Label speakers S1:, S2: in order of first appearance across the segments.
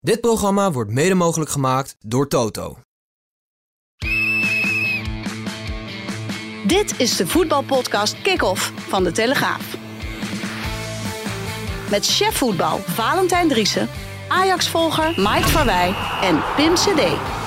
S1: Dit programma wordt mede mogelijk gemaakt door Toto.
S2: Dit is de voetbalpodcast Kick-Off van De Telegraaf. Met chef voetbal Valentijn Driessen, Ajax-volger Mike van Wij en Pim CD.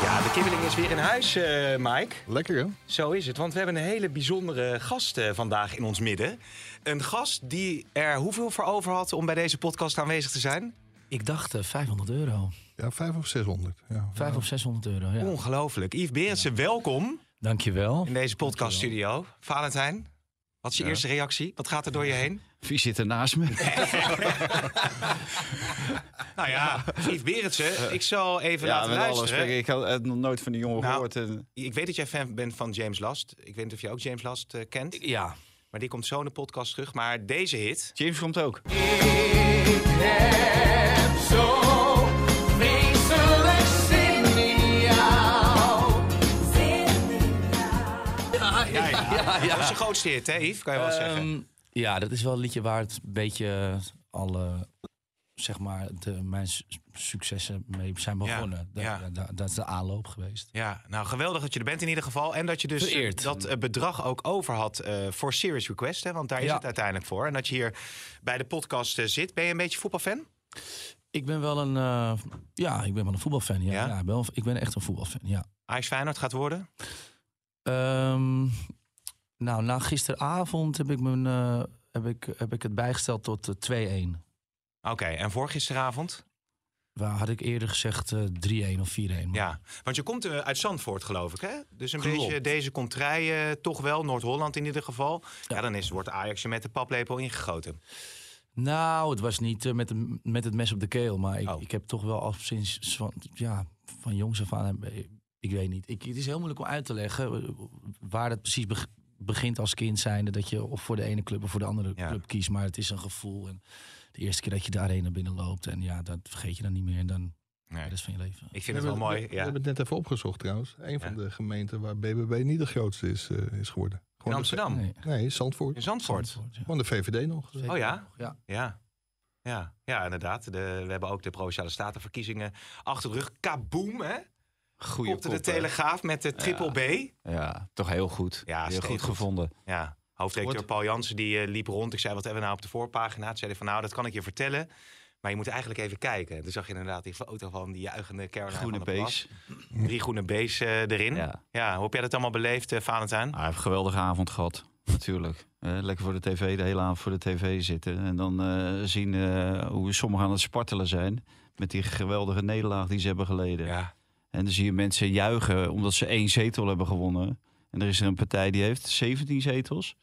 S3: Ja, de kibbeling is weer in huis, eh, Mike.
S4: Lekker, hè?
S3: Zo is het, want we hebben een hele bijzondere gast eh, vandaag in ons midden. Een gast die er hoeveel voor over had om bij deze podcast aanwezig te zijn?
S5: Ik dacht eh, 500 euro.
S4: Ja, vijf of 600. Ja.
S5: 5
S3: Oh.
S5: of 600 euro, ja.
S3: Ongelooflijk. Yves Berendsen, welkom
S5: Dankjewel.
S3: in deze podcaststudio. Valentijn, wat is je eerste reactie? Wat gaat er door je heen?
S6: Wie zit er naast me?
S3: Nou ja, Yves Berendsen, ik zal even laten
S6: met alle
S3: luisteren.
S6: respect. Ik had het nog nooit van die jongen
S3: Nou,
S6: gehoord. En,
S3: Ik weet dat jij fan bent van James Last. Ik weet niet of je ook James Last eh, kent.
S5: Ja.
S3: Maar die komt zo in de podcast terug. Maar deze hit,
S6: James komt ook.
S3: dat is je grootste hit, hè Yves? Kan je wel zeggen.
S5: Ehm, ja, dat is wel een liedje waar het een beetje alle, zeg maar, de, mijn su- successen mee zijn begonnen. Da-
S3: ja.
S5: da- da- dat is de aanloop geweest.
S3: Ja, nou geweldig dat je er bent in ieder geval. En dat je dus
S5: Vereerd.
S3: dat eh, bedrag ook over had eh, voor Serious Request. Hè, want daar is
S5: Ja.
S3: het uiteindelijk voor. En dat je hier bij de podcast eh, zit. Ben je een beetje voetbalfan?
S5: Ik ben wel een, eh, ja, ik ben wel een voetbalfan. Ja,
S3: Ja?
S5: ja? ik, ben wel- ik ben echt een voetbalfan, ja.
S3: Ajax Feyenoord gaat worden?
S5: Ehm, nou, na gisteravond heb ik, mijn, eh, heb ik, heb ik het bijgesteld tot eh, 2-1.
S3: Oké, en voor gisteravond?
S5: Waar had ik eerder gezegd eh, 3-1 of 4-1. maar-
S3: Ja, want je komt eh, uit Zandvoort geloof ik hè? Dus een
S5: Klopt.
S3: beetje deze contrij eh, toch wel. Noord-Holland in ieder geval. Ja, dan is, wordt Ajax je met de paplepel ingegoten.
S5: Nou, het was niet eh, met, de- met het mes op de keel. Maar ik,
S3: Oh.
S5: ik heb toch wel al sinds van, ja, van jongs af aan... heb- Ik weet niet. Ik, het is heel moeilijk om uit te leggen eh, waar het precies beg- begint als kind zijnde. Dat je of voor de ene club of voor de andere
S3: Ja.
S5: club kiest. Maar het is een gevoel. En de eerste keer dat je de arena binnenloopt. En ja, dat vergeet je dan niet meer. En dan de rest van je leven.
S3: Ik
S4: We
S3: vind het wel
S4: hebben-
S3: mooi.
S4: We, we
S3: ja.
S4: hebben het net even opgezocht trouwens. Een van de gemeenten waar BBB niet de grootste is, eh, is geworden.
S3: In
S4: de
S3: Amsterdam?
S5: Nee.
S4: V- nee, Zandvoort.
S3: In Zandvoort?
S5: Zandvoort, ja.
S4: Gewoon de VVD nog.
S5: Zeker
S3: Oh ja?
S5: nog, ja.
S3: Ja. Ja, ja inderdaad. De, we hebben ook de Provinciale Statenverkiezingen achter de rug. Kaboom, hè?
S6: Goeie
S3: Kopte de
S6: kop, hè?
S3: Telegraaf met de triple B.
S6: Ja, toch heel goed.
S3: Ja,
S6: heel
S3: steeds
S6: goed
S3: goed.
S6: gevonden.
S3: Ja, hoofdredacteur Paul Jansen die eh, liep rond. Ik zei, wat hebben we nou op de voorpagina? Toen zei hij van, nou, dat kan ik je vertellen. Maar je moet eigenlijk even kijken. Toen zag je inderdaad die foto van die juichende Caroline
S6: Groene
S3: van der Plas.
S6: beest.
S3: Drie groene B's eh, erin. Ja.
S6: Ja.
S3: hoe heb jij dat allemaal beleefd, eh, Valentijn?
S6: Ah, hij heeft een geweldige avond gehad. Natuurlijk. Eh, lekker voor de tv, de hele avond voor de tv zitten. En dan eh, zien eh, hoe sommigen aan het spartelen zijn. Met die geweldige nederlaag die ze hebben geleden. En dan zie je mensen juichen omdat ze één zetel hebben gewonnen. En er is er een partij die heeft 17 zetels.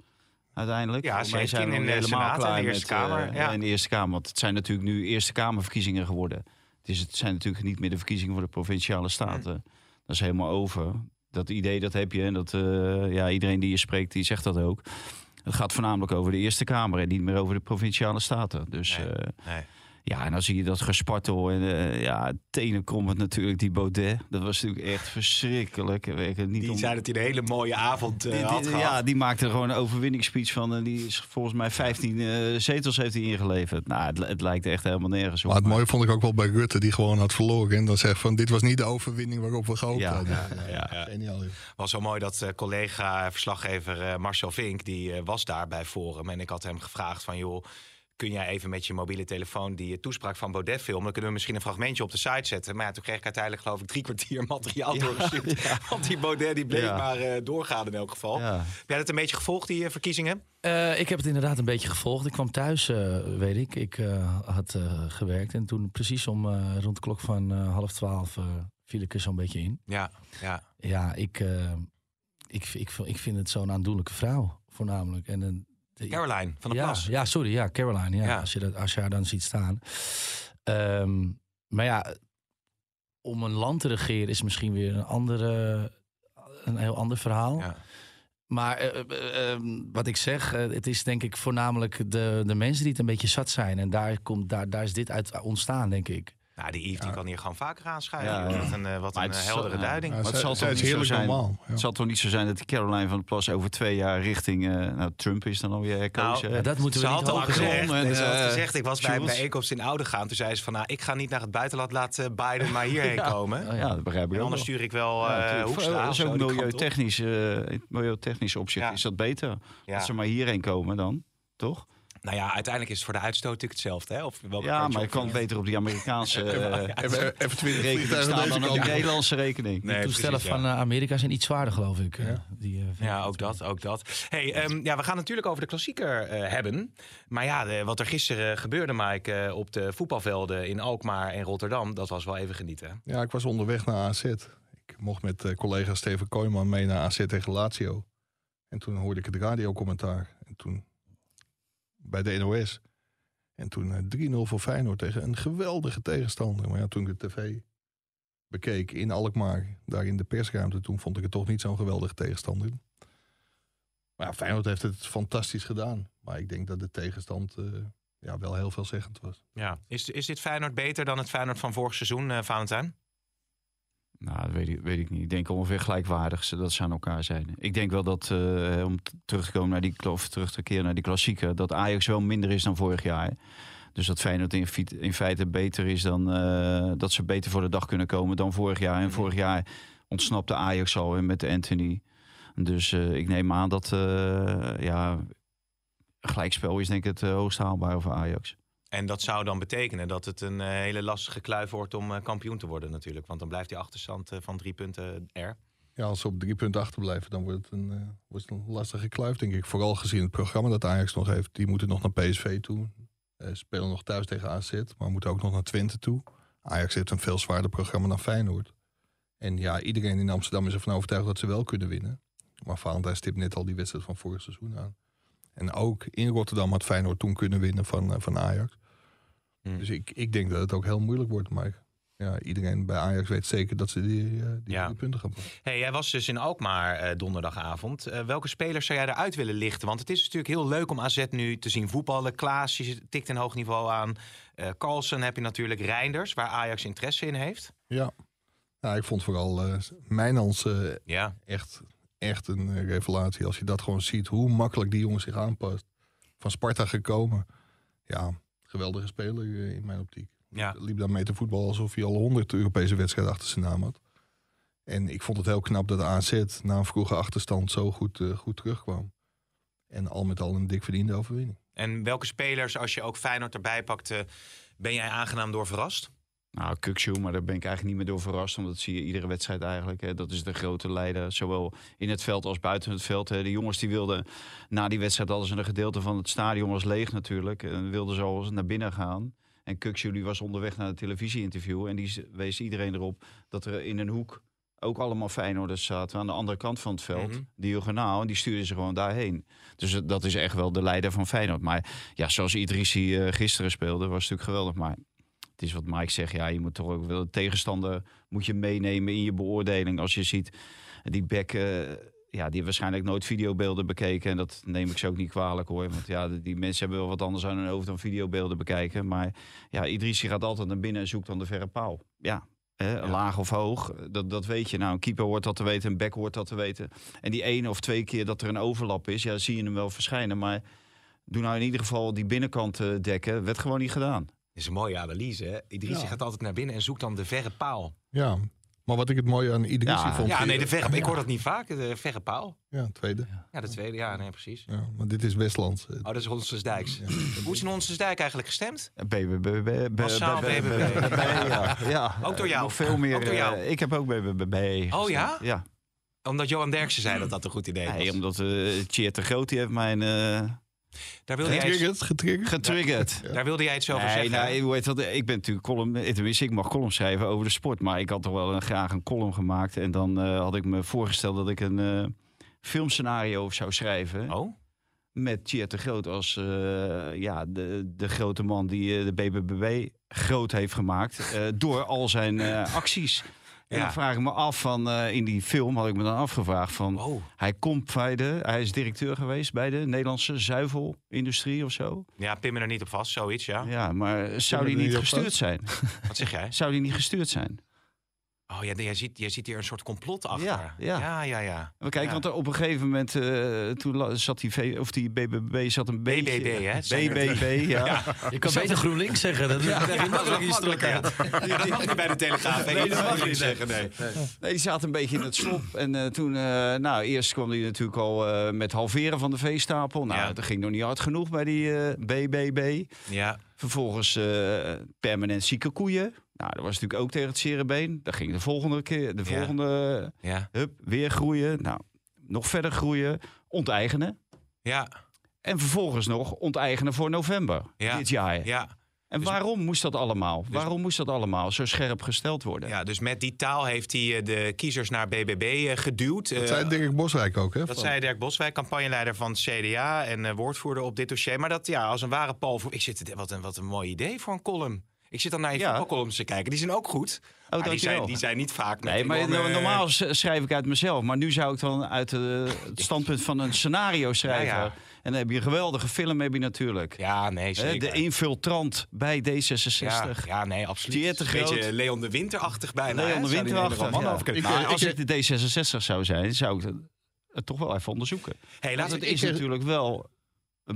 S6: Uiteindelijk.
S3: Ja,
S6: Volgens mij
S3: 17
S6: we
S3: in de
S6: helemaal
S3: Senaat en de
S6: klaar
S3: Eerste
S6: met,
S3: Kamer,
S6: eh,
S3: ja.
S6: En de Eerste Kamer. Want het zijn natuurlijk nu Eerste Kamerverkiezingen geworden. Het, is, het zijn natuurlijk niet meer de verkiezingen voor de provinciale staten.
S3: Mm.
S6: Dat is helemaal over. Dat idee dat heb je. En dat, eh, ja, iedereen die je spreekt, die zegt dat ook. Het gaat voornamelijk over de Eerste Kamer en niet meer over de provinciale staten. Dus
S3: Nee.
S6: eh,
S3: Nee.
S6: ja, en dan zie je dat gespartel en eh ja, tenenkrommend natuurlijk die Baudet. Dat was natuurlijk echt verschrikkelijk. Weet ik, Niet
S3: Die
S6: om-
S3: zei dat hij een hele mooie avond eh,
S6: die- die-
S3: had gehad.
S6: ja, die maakte er gewoon een overwinningsspeech van. En die is volgens mij 15 eh, zetels heeft hij ingeleverd. Nou, het, het lijkt echt helemaal nergens op.
S4: Maar het mooie vond ik ook wel bij Rutte, die gewoon had verloren. En dan zegt van, dit was niet de overwinning waarop we gehoopt
S6: Ja,
S4: hadden.
S6: ja,
S3: ja.
S4: Geniaal, joh.
S3: was zo mooi dat eh, collega verslaggever eh, Marcel Vink, die eh, was daar bij Forum. En ik had hem gevraagd van joh, kun jij even met je mobiele telefoon die eh, toespraak van Baudet filmen? Dan kunnen we misschien een fragmentje op de site zetten. Maar ja, toen kreeg ik uiteindelijk geloof ik drie kwartier materiaal doorgestuurd. Want die Baudet die bleef
S6: Ja.
S3: maar eh, doorgaan in elk geval.
S6: Ja.
S3: Heb jij dat een beetje gevolgd, die eh, verkiezingen?
S5: Eh, ik heb het inderdaad een beetje gevolgd. Ik kwam thuis, eh, weet ik. Ik eh, had eh, gewerkt. En toen precies om eh, rond de klok van eh, half twaalf eh, viel ik er zo'n beetje in.
S3: Ja, ja.
S5: Ja, ik, eh, ik, ik, ik vind het zo'n aandoenlijke vrouw, voornamelijk. En een, de-
S3: Caroline van der
S5: ja,
S3: Plas.
S5: Ja, sorry, ja, Caroline. Ja,
S3: Ja.
S5: Als, je dat, als je haar dan ziet staan. Ehm, maar ja, om een land te regeren is misschien weer een, andere, een heel ander verhaal.
S3: Ja.
S5: Maar eh, eh, eh, wat ik zeg, eh, het is denk ik voornamelijk de, de mensen die het een beetje zat zijn. En daar, komt, daar, daar is dit uit ontstaan, denk ik.
S3: Nou, die Yves die kan hier gewoon vaker aanschuiven.
S6: Ja,
S3: joh.
S6: ja.
S3: Wat een, eh, wat
S6: Maar
S3: een
S6: het is-
S3: heldere
S6: ja.
S3: duiding.
S4: Ja,
S6: Maar het
S4: zij-
S6: zal
S4: zij
S6: toch
S4: is
S6: niet zo
S4: heerlijk
S6: zijn-
S4: normaal. Ja.
S6: Het zal toch niet zo zijn dat die Caroline van der Plas over twee jaar richting... eh, nou, Trump is dan alweer herkozen.
S3: Nou,
S6: hè?
S5: dat moeten we
S3: Ze
S5: niet
S3: had al
S5: hopen.
S3: gezegd,
S6: Macron en,
S3: nee, ze had
S6: eh,
S3: gezegd, ik was bij een
S6: Schulz.
S3: bijeenkomst in Oude gaan. Toen zei ze van, nou, ik ga niet naar het buitenland, laat eh, Biden maar hierheen komen.
S5: Oh,
S6: ja, dat begrijp ik
S3: En
S6: ook
S3: anders
S6: wel.
S3: stuur ik wel
S6: Ja,
S3: eh
S6: natuurlijk.
S3: Hoekstra
S6: dat
S3: of
S6: is
S3: zo
S6: ook
S3: die kant op.
S6: milieutechnisch, eh, in milieutechnisch opzicht
S3: Ja.
S6: is dat beter.
S3: Ja.
S6: Als ze maar hierheen komen dan, toch?
S3: Nou ja, uiteindelijk is het voor de uitstoot natuurlijk hetzelfde. Hè? Of welke
S6: ja,
S3: kant je
S6: maar je
S3: op
S6: kan
S3: wil.
S6: beter op die Amerikaanse eh,
S4: Even, even 20
S6: rekening
S4: vliegtuigen
S6: staan
S4: deze
S6: dan
S4: kant
S6: op
S4: op.
S6: de Nederlandse rekening.
S3: Nee,
S5: De toestellen
S3: precies, ja.
S5: van eh, Amerika zijn iets zwaarder, geloof ik. eh, die, eh,
S3: Ja, ook dat, ook dat. Hey, ehm, ja, we gaan natuurlijk over de klassieker eh, hebben. Maar ja, de- wat er gisteren gebeurde, Mike, eh, op de voetbalvelden in Alkmaar en Rotterdam, dat was wel even genieten. hè?
S4: Ja, ik was onderweg naar AZ. Ik mocht met eh, collega Steven Kooijman mee naar AZ tegen Lazio. En toen hoorde ik het radiocommentaar. En toen bij de NOS. En toen eh, 3-0 voor Feyenoord tegen een geweldige tegenstander. Maar ja, toen ik de tv bekeek in Alkmaar, daar in de persruimte, toen vond ik het toch niet zo'n geweldige tegenstander. Maar ja, Feyenoord heeft het fantastisch gedaan. Maar ik denk dat de tegenstand eh, ja, wel heel veelzeggend was.
S3: Ja. Is, is dit Feyenoord beter dan het Feyenoord van vorig seizoen, eh Valentijn?
S6: Nou, dat weet ik, weet ik niet. Ik denk ongeveer gelijkwaardig ze- dat ze aan elkaar zijn. Ik denk wel dat, eh, om t- terug te komen naar die, kla- of terug te keren naar die klassieker, dat Ajax wel minder is dan vorig jaar. Dus dat Feyenoord in, fiet- in feite beter is dan, eh, dat ze beter voor de dag kunnen komen dan vorig jaar.
S3: Mm-hmm.
S6: En vorig jaar ontsnapte Ajax al met Anthony. Dus eh, ik neem aan dat, eh, ja, gelijkspel is denk ik het eh, hoogst haalbare voor Ajax.
S3: En dat zou dan betekenen dat het een eh, hele lastige kluif wordt om eh, kampioen te worden natuurlijk. Want dan blijft die achterstand eh, van drie punten er.
S4: Ja, als ze op drie punten achterblijven, dan wordt het een, eh, wordt het een lastige kluif, denk ik. Vooral gezien het programma dat Ajax nog heeft. Die moeten nog naar PSV toe. Eh, spelen nog thuis tegen AZ, maar moeten ook nog naar Twente toe. Ajax heeft een veel zwaarder programma dan Feyenoord. En ja, iedereen in Amsterdam is ervan overtuigd dat ze wel kunnen winnen. Maar Valentijn stipt net al die wedstrijd van vorig seizoen aan. En ook in Rotterdam had Feyenoord toen kunnen winnen van, eh, van Ajax.
S3: Hmm.
S4: Dus ik, ik denk dat het ook heel moeilijk wordt. Maar ja, iedereen bij Ajax weet zeker dat ze die, eh, die
S3: Ja.
S4: drie punten gaan pakken.
S3: Hey, jij was dus in Alkmaar eh, donderdagavond. Eh, welke spelers zou jij eruit willen lichten? Want het is natuurlijk heel leuk om AZ nu te zien voetballen. Klaas je tikt een hoog niveau aan. Eh Carlsen heb je natuurlijk. Reinders, waar Ajax interesse in heeft.
S4: Ja. Nou, ik vond vooral eh Mijnans eh,
S3: Ja,
S4: echt, echt een eh, revelatie. Als je dat gewoon ziet, hoe makkelijk die jongen zich aanpast. Van Sparta gekomen. Ja, geweldige speler eh, in mijn optiek.
S3: ja.
S4: Liep daar mee te voetbal alsof hij al honderd Europese wedstrijden achter zijn naam had. En ik vond het heel knap dat AZ na een vroege achterstand zo goed, eh, goed terugkwam. En al met al een dik verdiende overwinning.
S3: En welke spelers, als je ook Feyenoord erbij pakt, eh, ben jij aangenaam door verrast?
S6: Nou, Kukshoe, maar daar ben ik eigenlijk niet meer door verrast. Omdat zie je iedere wedstrijd eigenlijk. Hè, dat is de grote leider, zowel in het veld als buiten het veld. Hè. De jongens die wilden na die wedstrijd, alles in een gedeelte van het stadion was leeg natuurlijk. En wilden ze al naar binnen gaan. En Kukshoe die was onderweg naar het televisieinterview. En die z- wees iedereen erop dat er in een hoek ook allemaal Feyenoorders zaten. Aan de andere kant van het veld,
S3: Mhm.
S6: diagonaal. En die stuurden ze gewoon daarheen. Dus het- dat is echt wel de leider van Feyenoord. Maar ja, zoals Idrissi eh, gisteren speelde, was natuurlijk geweldig. Maar het is wat Mike zegt. Ja, je moet toch ook wel de tegenstander moet je meenemen in je beoordeling. Als je ziet die bek, eh, ja, die heeft waarschijnlijk nooit videobeelden bekeken. En dat neem ik ze ook niet kwalijk hoor. Want ja, die mensen hebben wel wat anders aan hun hoofd dan videobeelden bekijken. Maar ja, Idrissi gaat altijd naar binnen en zoekt dan de verre paal. Ja. Hè, Laag of hoog, dat, dat weet je. Nou, een keeper hoort dat te weten, een bek hoort dat te weten. En die één of twee keer dat er een overlap is, ja, zie je hem wel verschijnen. Maar doe nou in ieder geval die binnenkant eh, dekken. Werd gewoon niet gedaan.
S3: Dat is een mooie analyse, hè? Idrissi
S4: Ja.
S3: gaat altijd naar binnen en zoekt dan de verre paal.
S4: Ja, maar wat ik het mooie aan Idrissi
S6: Ja.
S4: vond...
S3: Ja, nee, de verre Ik hoor dat niet vaak, de verre paal.
S4: Ja, tweede.
S3: Ja, de tweede. Ja, nee, precies.
S4: Ja, maar dit is eh. Westland.
S3: Oh, dat is Honsensdijks. Hoe is in Honsensdijk eigenlijk gestemd?
S6: BBB.
S3: Massaal BBB.
S6: Ja, ja.
S3: Ook door jou.
S6: Nog veel meer.
S3: Ook door jou.
S6: eh, ik heb ook BBB.
S3: Oh, ja?
S6: gestemd. Ja.
S3: Omdat Johan Derksen zei dat dat een goed idee was.
S6: Nee, omdat eh Tjeer te Groot die heeft mij eh,
S3: Daar wilde jij iets,
S4: Getriggerd, getriggerd.
S6: getriggerd.
S3: daar wilde jij iets over
S6: Nee,
S3: zeggen.
S6: nou, hoe heet dat? Ik ben natuurlijk column, eh, tenminste, ik mag column schrijven over de sport, maar ik had toch wel een, graag een column gemaakt. En dan eh, had ik me voorgesteld dat ik een eh, filmscenario zou schrijven.
S3: Oh,
S6: Met Tjeerd de Groot als eh, ja, de, de grote man die eh, de BBB groot heeft gemaakt. eh, door al zijn eh, acties. En
S3: Ja.
S6: dan vraag ik me af van, eh, in die film had ik me dan afgevraagd van...
S3: Oh,
S6: Hij komt bij de, hij is directeur geweest bij de Nederlandse zuivelindustrie of zo.
S3: ja, pin me er niet op vast, zoiets, ja.
S6: Ja, maar zou
S4: er
S6: die
S4: niet
S6: niet
S4: op
S6: gestuurd
S4: vast?
S6: zijn?
S3: Wat zeg jij?
S6: Zou die niet gestuurd zijn?
S3: Oh ja, jij ziet, jij ziet hier een soort complot achter.
S6: Ja, ja.
S3: ja, ja. ja.
S6: We kijken,
S3: Ja.
S6: want er op een gegeven moment eh, toen la- zat die, v, of die BBB zat een beetje...
S3: BBB, hè? Zijn we
S6: BBB, ja.
S5: Je kan beter GroenLinks zeggen. Dat is
S3: Ja, dat is makkelijker. Ja. Ja, dat mag niet bij de Telegraaf. Nee, dat mag je niet zeggen, nee.
S6: Nee, die zaten een beetje in het slop. En eh, toen, eh, nou, eerst kwam hij natuurlijk al eh, met halveren van de veestapel. Nou,
S3: Ja.
S6: dat ging nog niet hard genoeg bij die eh, BBB.
S3: Ja,
S6: Vervolgens eh, permanent zieke koeien. Nou, dat was natuurlijk ook tegen het zere been. Dat ging de volgende keer, de
S3: Ja.
S6: volgende,
S3: ja,
S6: hup, weer groeien. Nou, nog verder groeien, onteigenen.
S3: ja,
S6: En vervolgens nog onteigenen voor november
S3: Ja.
S6: dit jaar.
S3: ja.
S6: En
S3: Dus-
S6: waarom moest dat allemaal? waarom moest dat allemaal zo scherp gesteld worden?
S3: ja. Dus met die taal heeft hij eh, de kiezers naar BBB eh, geduwd.
S4: Dat
S3: Eh,
S4: zei Dirk Boswijk ook, hè?
S3: Dat
S4: van-
S3: zei Dirk Boswijk, campagneleider van het CDA en eh, woordvoerder op dit dossier. Maar dat ja, als een ware Paul. voor- Ik zit, wat, een, wat een mooi idee voor een column. Ik zit dan naar je
S6: Ja. Ah,
S3: voetbalcolumns te kijken. Die zijn ook goed. Maar die,
S6: Oh, dankjewel.
S3: zijn, die zijn niet vaak. met
S6: Nee, maar
S3: enorme-
S6: no- normaal s- schrijf ik uit mezelf. Maar nu zou ik dan uit eh, het standpunt van een scenario schrijven.
S3: Ja, ja.
S6: En dan heb je een geweldige film heb je natuurlijk.
S3: Ja, nee,
S6: Hè,
S3: zeker.
S6: de E infiltrant bij D66.
S3: ja, ja, nee, absoluut.
S6: Tjeerd de
S3: Een
S6: Groot.
S3: beetje Leon de Winterachtig bijna.
S6: Leon de
S3: hè? Zou die
S6: Winterachtig,
S3: een of andere man
S6: ja.
S3: over kunnen-
S4: Ik-
S6: Maar
S4: ik-
S6: als ik de D66 zou zijn, zou ik het, het toch wel even onderzoeken.
S3: Hey,
S6: Want
S3: laten
S6: het
S3: we
S6: is natuurlijk wel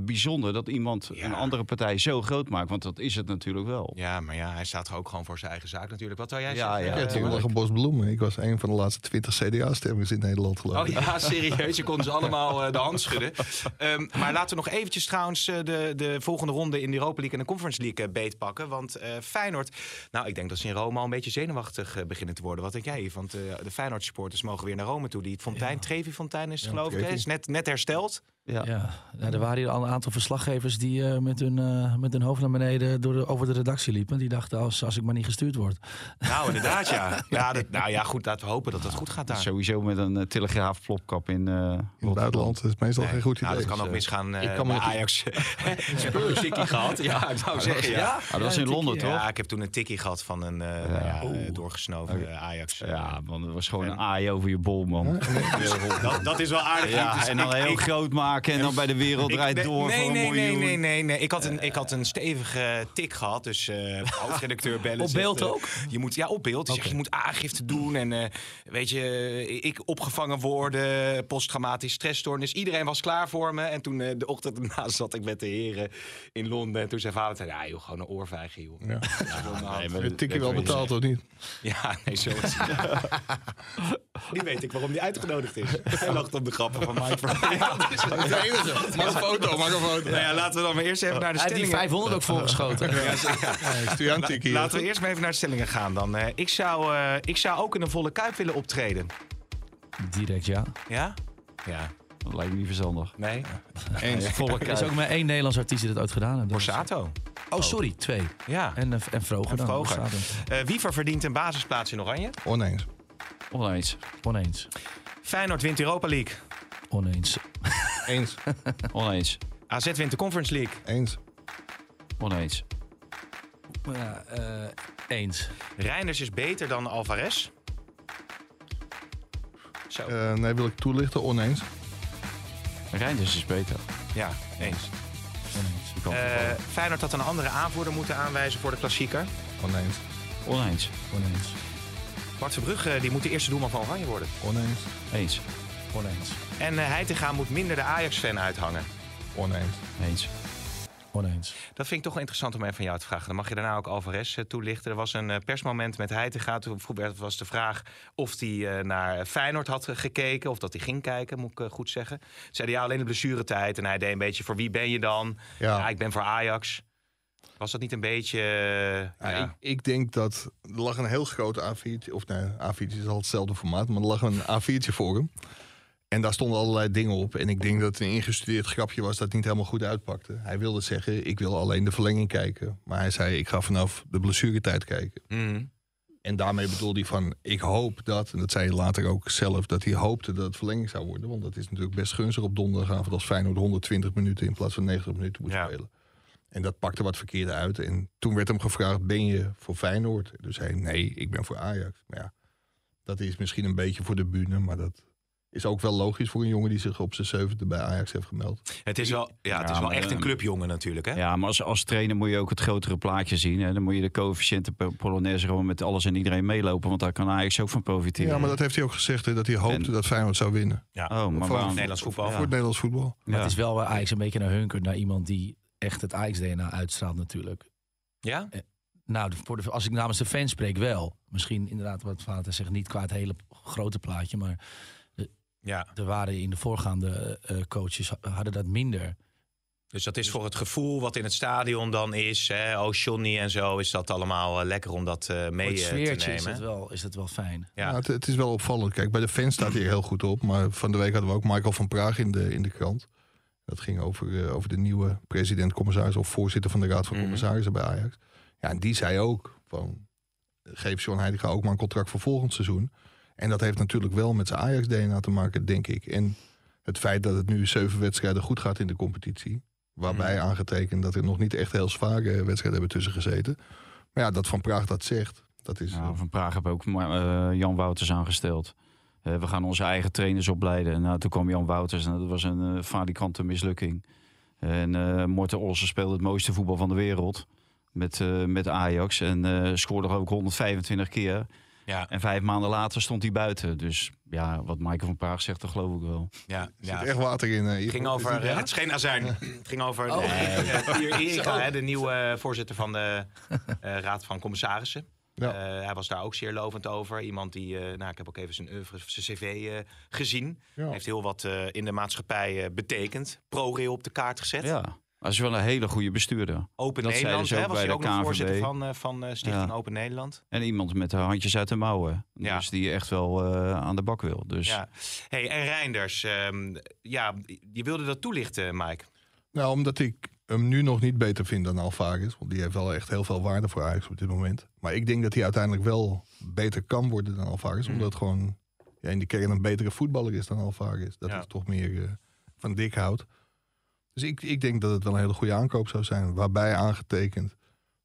S6: bijzonder dat iemand
S3: Ja.
S6: een andere partij zo groot maakt. Want dat is het natuurlijk wel.
S3: Ja, maar ja, hij staat toch ook gewoon voor zijn eigen zaak natuurlijk. Wat zou jij
S6: Ja,
S3: zeggen?
S6: ja.
S4: Ja,
S3: eh,
S4: toen lag een bos bloemen. Ik was een van de laatste 20 CDA-stemmers in Nederland, geloof
S3: Oh
S4: ik.
S3: ja, serieus. Je kon ze allemaal eh, de hand schudden. Ehm, maar laten we nog eventjes trouwens eh, de, de volgende ronde in de Europa League en de Conference League eh, beetpakken. Want eh, Feyenoord, nou ik denk dat ze in Rome al een beetje zenuwachtig eh, beginnen te worden. Wat denk jij? Want eh, de Feyenoord supporters mogen weer naar Rome toe. Die Fontijn, Trevi Fontijn is het, geloof ik. hè?
S4: Trevi.
S3: Is net, net hersteld.
S6: Ja.
S5: Ja, nou, er waren hier al een aantal verslaggevers die eh, met, hun, eh, met hun hoofd naar beneden door de, over de redactie liepen. Die dachten, als, als ik maar niet gestuurd word.
S3: Nou, inderdaad ja. ja dat- nou ja, goed. Laten we hopen dat het goed gaat daar.
S6: Sowieso met een eh, telegraafplopkap in, eh
S4: In het buitenland. Dat is meestal geen goed idee.
S3: Nou, dat kan ook
S4: Dus,
S3: misgaan eh
S4: ik kan me
S3: bij
S4: nog-
S3: Ajax. Spurs tikkie gehad. Ja, ik zou zeggen ja.
S6: Ah, dat was in Londen, toch?
S3: Ja, ik heb toen een tikkie gehad van een eh, nou ja, eh, doorgesnoven eh, Ajax. Dus
S6: Ja, want het was gewoon een aai over je bol, man.
S3: Dat, dat is wel aardig.
S6: Ja,
S3: Dus
S6: en dan
S3: ik-
S6: heel
S3: ik-
S6: groot maken en dan bij de wereld
S3: ik-
S6: draait
S3: nee,
S6: door
S3: nee,
S6: voor een
S3: nee, nee,
S6: miljoen. Eh.
S3: nee, nee, nee. Ik had een, ik had een stevige tik gehad. Dus eh hoofdredacteur bellen.
S5: Op
S3: zegt,
S5: beeld
S3: eh,
S5: ook?
S3: Je moet, ja, op beeld. Die zegt, je moet aangifte doen. En eh, weet je, eh, ik opgevangen worden. Posttraumatische stressstoornis. Iedereen was klaar voor me. En toen eh, de ochtend daarna zat ik met de heren in Londen. En toen zei vader, ja joh, gewoon een oorvijgen joh. Ja,
S6: Nee, maar
S4: Het
S6: dat-
S4: tikje wel
S6: dat-
S4: betaald, of niet?
S3: ja nee, zo is het. Nu weet ik waarom die uitgenodigd is. Hij lacht op de grappen van Mike Verheij. Ja, dat is het.
S4: Maak een foto, maak een foto.
S3: Nou ja, laten we dan maar eerst even naar de
S5: Hij heeft die
S3: stellingen.
S5: 500 ook voorgeschoten.
S4: Stuur jou een tikkie. eh.
S3: Laten we eerst maar even naar de stellingen gaan dan. Eh, ik, zou, eh, ik zou ook in een volle kuip willen optreden.
S5: Direct, ja.
S3: Ja? Ja.
S6: Dat lijkt me niet verstandig.
S3: Nee?
S6: Volle
S5: Er is ook maar één Nederlands artiest die dat ooit gedaan heeft.
S3: Borsato.
S5: Oh, sorry, twee.
S3: Ja.
S5: En, eh, en Vroger
S3: En
S5: dan.
S3: Vroger.
S5: Borsato.
S3: Eh, Wiever verdient een basisplaats in Oranje.
S4: Oneens.
S6: Oneens.
S5: Oneens.
S3: Feyenoord wint Europa League.
S5: Oneens.
S4: Eens.
S6: Oneens.
S3: AZ wint de Conference League.
S4: Eens.
S6: Oneens.
S5: Ja, eh, eens.
S3: Reinders is beter dan Alvarez. Zo.
S4: Eh, nee, wil ik toelichten. Oneens.
S6: Reinders is dus beter.
S3: Ja, eens.
S5: Oneens.
S6: Die kant op.
S3: Eh, Feyenoord had een andere aanvoerder moeten aanwijzen voor de klassieker.
S4: Oneens.
S6: Oneens.
S5: Eh, Oneens.
S3: Bart Verbrugge eh, die moet de eerste doelman van Oranje worden.
S4: Oneens.
S6: Eens.
S5: Oneens.
S3: En eh Heitinga moet minder de Ajax-fan uithangen.
S4: Oneens.
S6: Eens.
S5: Oneens.
S3: Dat vind ik toch wel interessant om even van jou te vragen. Dan mag je daarna ook Alvarez eh, toelichten. Er was een eh, persmoment met Heitinga. Toen vroeg- werd- was de vraag of hij eh, naar Feyenoord had eh, gekeken. Of dat hij ging kijken, moet ik eh, goed zeggen. Toen Zei hij, ja, alleen de blessuretijd. En hij deed een beetje, voor wie ben je dan? Ja,
S4: Ja.
S3: ik ben voor Ajax. Was dat niet een beetje... eh,
S4: Ja,
S3: ja.
S4: Ik, ik denk dat er lag een heel groot A4'tje, of nee, A4'tje is al hetzelfde formaat, maar er lag een A4'tje voor hem. En daar stonden allerlei dingen op. En ik denk dat het een ingestudeerd grapje was dat het niet helemaal goed uitpakte. Hij wilde zeggen, ik wil alleen de verlenging kijken. Maar hij zei, ik ga vanaf de blessuretijd kijken.
S3: Mhm.
S4: En daarmee bedoelde hij van, ik hoop dat, en dat zei hij later ook zelf, dat hij hoopte dat het verlenging zou worden. Want dat is natuurlijk best gunstig op donderdagavond als Feyenoord 120 minuten in plaats van 90 minuten moet
S3: Ja.
S4: spelen. En dat pakte wat verkeerd uit. En toen werd hem gevraagd, ben je voor Feyenoord? Dus hij, nee, ik ben voor Ajax. Maar ja, dat is misschien een beetje voor de bühne, maar dat is ook wel logisch voor een jongen die zich op zijn zevende bij Ajax heeft gemeld.
S3: Het is wel, ja, het
S6: Ja,
S3: is wel
S6: maar,
S3: echt een
S6: eh,
S3: clubjongen natuurlijk. Hè?
S6: Ja, maar als, als trainer moet je ook het grotere plaatje zien. Hè. Dan moet je de coëfficiënten per Polonaise gewoon met alles en iedereen meelopen. Want daar kan Ajax ook van profiteren.
S4: Ja, maar dat heeft hij ook gezegd, hè, dat hij hoopte
S6: En-
S4: dat Feyenoord zou winnen.
S3: Ja.
S6: Oh, maar
S4: Voor-
S6: waarom-
S3: Nederlands voetbal.
S4: Voor het Nederlands voetbal.
S5: Maar
S6: Ja.
S5: het is wel waar Ajax een beetje naar hunkert. Naar iemand die echt het Ajax-DNA uitstraalt natuurlijk.
S3: Ja?
S5: Nou, voor de- als ik namens de fans spreek wel. Misschien inderdaad wat Vater zegt, niet qua het hele grote plaatje. Maar
S3: ja.
S5: er waren in de voorgaande eh, coaches ha- hadden dat minder.
S3: Dus dat is voor het gevoel wat in het stadion dan is. Hè? Oh, Johnny en zo is dat allemaal eh, lekker om dat eh, mee
S5: Voor het
S3: eh, te
S5: sfeertje is
S3: nemen.
S5: dat, wel, is dat wel fijn.
S3: Ja.
S4: Ja. Nou, het, het is wel opvallend. Kijk, bij de fans staat hij er heel goed op. Maar van de week hadden we ook Michael van Praag in de, in de krant. Dat ging over, eh, over de nieuwe president-commissaris of voorzitter van de Raad van
S3: Mhm.
S4: Commissarissen bij Ajax. Ja, en die zei ook van, geef John Heitinga ook maar een contract voor volgend seizoen. En dat heeft natuurlijk wel met zijn Ajax-DNA te maken, denk ik. En het feit dat het nu zeven wedstrijden goed gaat in de competitie. Waarbij
S3: Mhm.
S4: aangetekend dat er nog niet echt heel zware wedstrijden hebben tussen gezeten. Maar ja, dat Van Praag dat zegt, dat is...
S6: Nou, van Praag hebben ook maar, eh, Jan Wouters aangesteld. Eh, we gaan onze eigen trainers opleiden. Nou, toen kwam Jan Wouters en dat was een eh, falikante mislukking. En eh Morten Olsen speelde het mooiste voetbal van de wereld met, eh, met Ajax. En eh, scoorde ook 125 keer.
S3: Ja,
S6: En vijf maanden later stond hij buiten. Dus ja, wat Michael van Praag zegt, dat geloof ik wel.
S3: ja,
S4: Er zit
S3: ja.
S4: echt water in. eh,
S3: Het
S4: Igor.
S3: ging
S4: Is
S3: over,
S4: niet
S3: eh,
S4: waar?
S3: het is geen azijn. Het ging over
S5: Oh.
S3: eh, Pier Erika, hè, de nieuwe voorzitter van de eh, Raad van Commissarissen.
S4: Ja.
S3: Eh, hij was daar ook zeer lovend over. Iemand die, eh, nou, ik heb ook even zijn, oeuvre, zijn cv eh, gezien.
S4: Ja.
S3: Heeft heel wat eh, in de maatschappij eh, betekend. ProRail op de kaart gezet.
S6: Ja, hij is wel een hele goede bestuurder.
S3: Open
S6: Dat zeiden
S3: Nederland,
S6: ze
S3: hè,
S6: ook
S3: was
S6: bij
S3: hij
S6: de
S3: ook nog
S6: KNVB.
S3: voorzitter van, eh, van eh, Stichting
S6: Ja.
S3: Open Nederland.
S6: En iemand met de handjes uit de mouwen.
S3: Ja.
S6: Dus die echt wel eh, aan de bak wil. Dus
S3: Ja. Hey, en Reinders, ehm, ja, je wilde dat toelichten, Mike.
S4: Nou, omdat ik hem nu nog niet beter vind dan Alvarez. Want die heeft wel echt heel veel waarde voor Ajax op dit moment. Maar ik denk dat hij uiteindelijk wel beter kan worden dan Alvarez.
S3: Hmm.
S4: Omdat het gewoon ja, in de kern een betere voetballer is dan Alvarez. Dat
S3: Ja.
S4: is toch meer eh, van dik hout. Dus ik, ik denk dat het wel een hele goede aankoop zou zijn. Waarbij aangetekend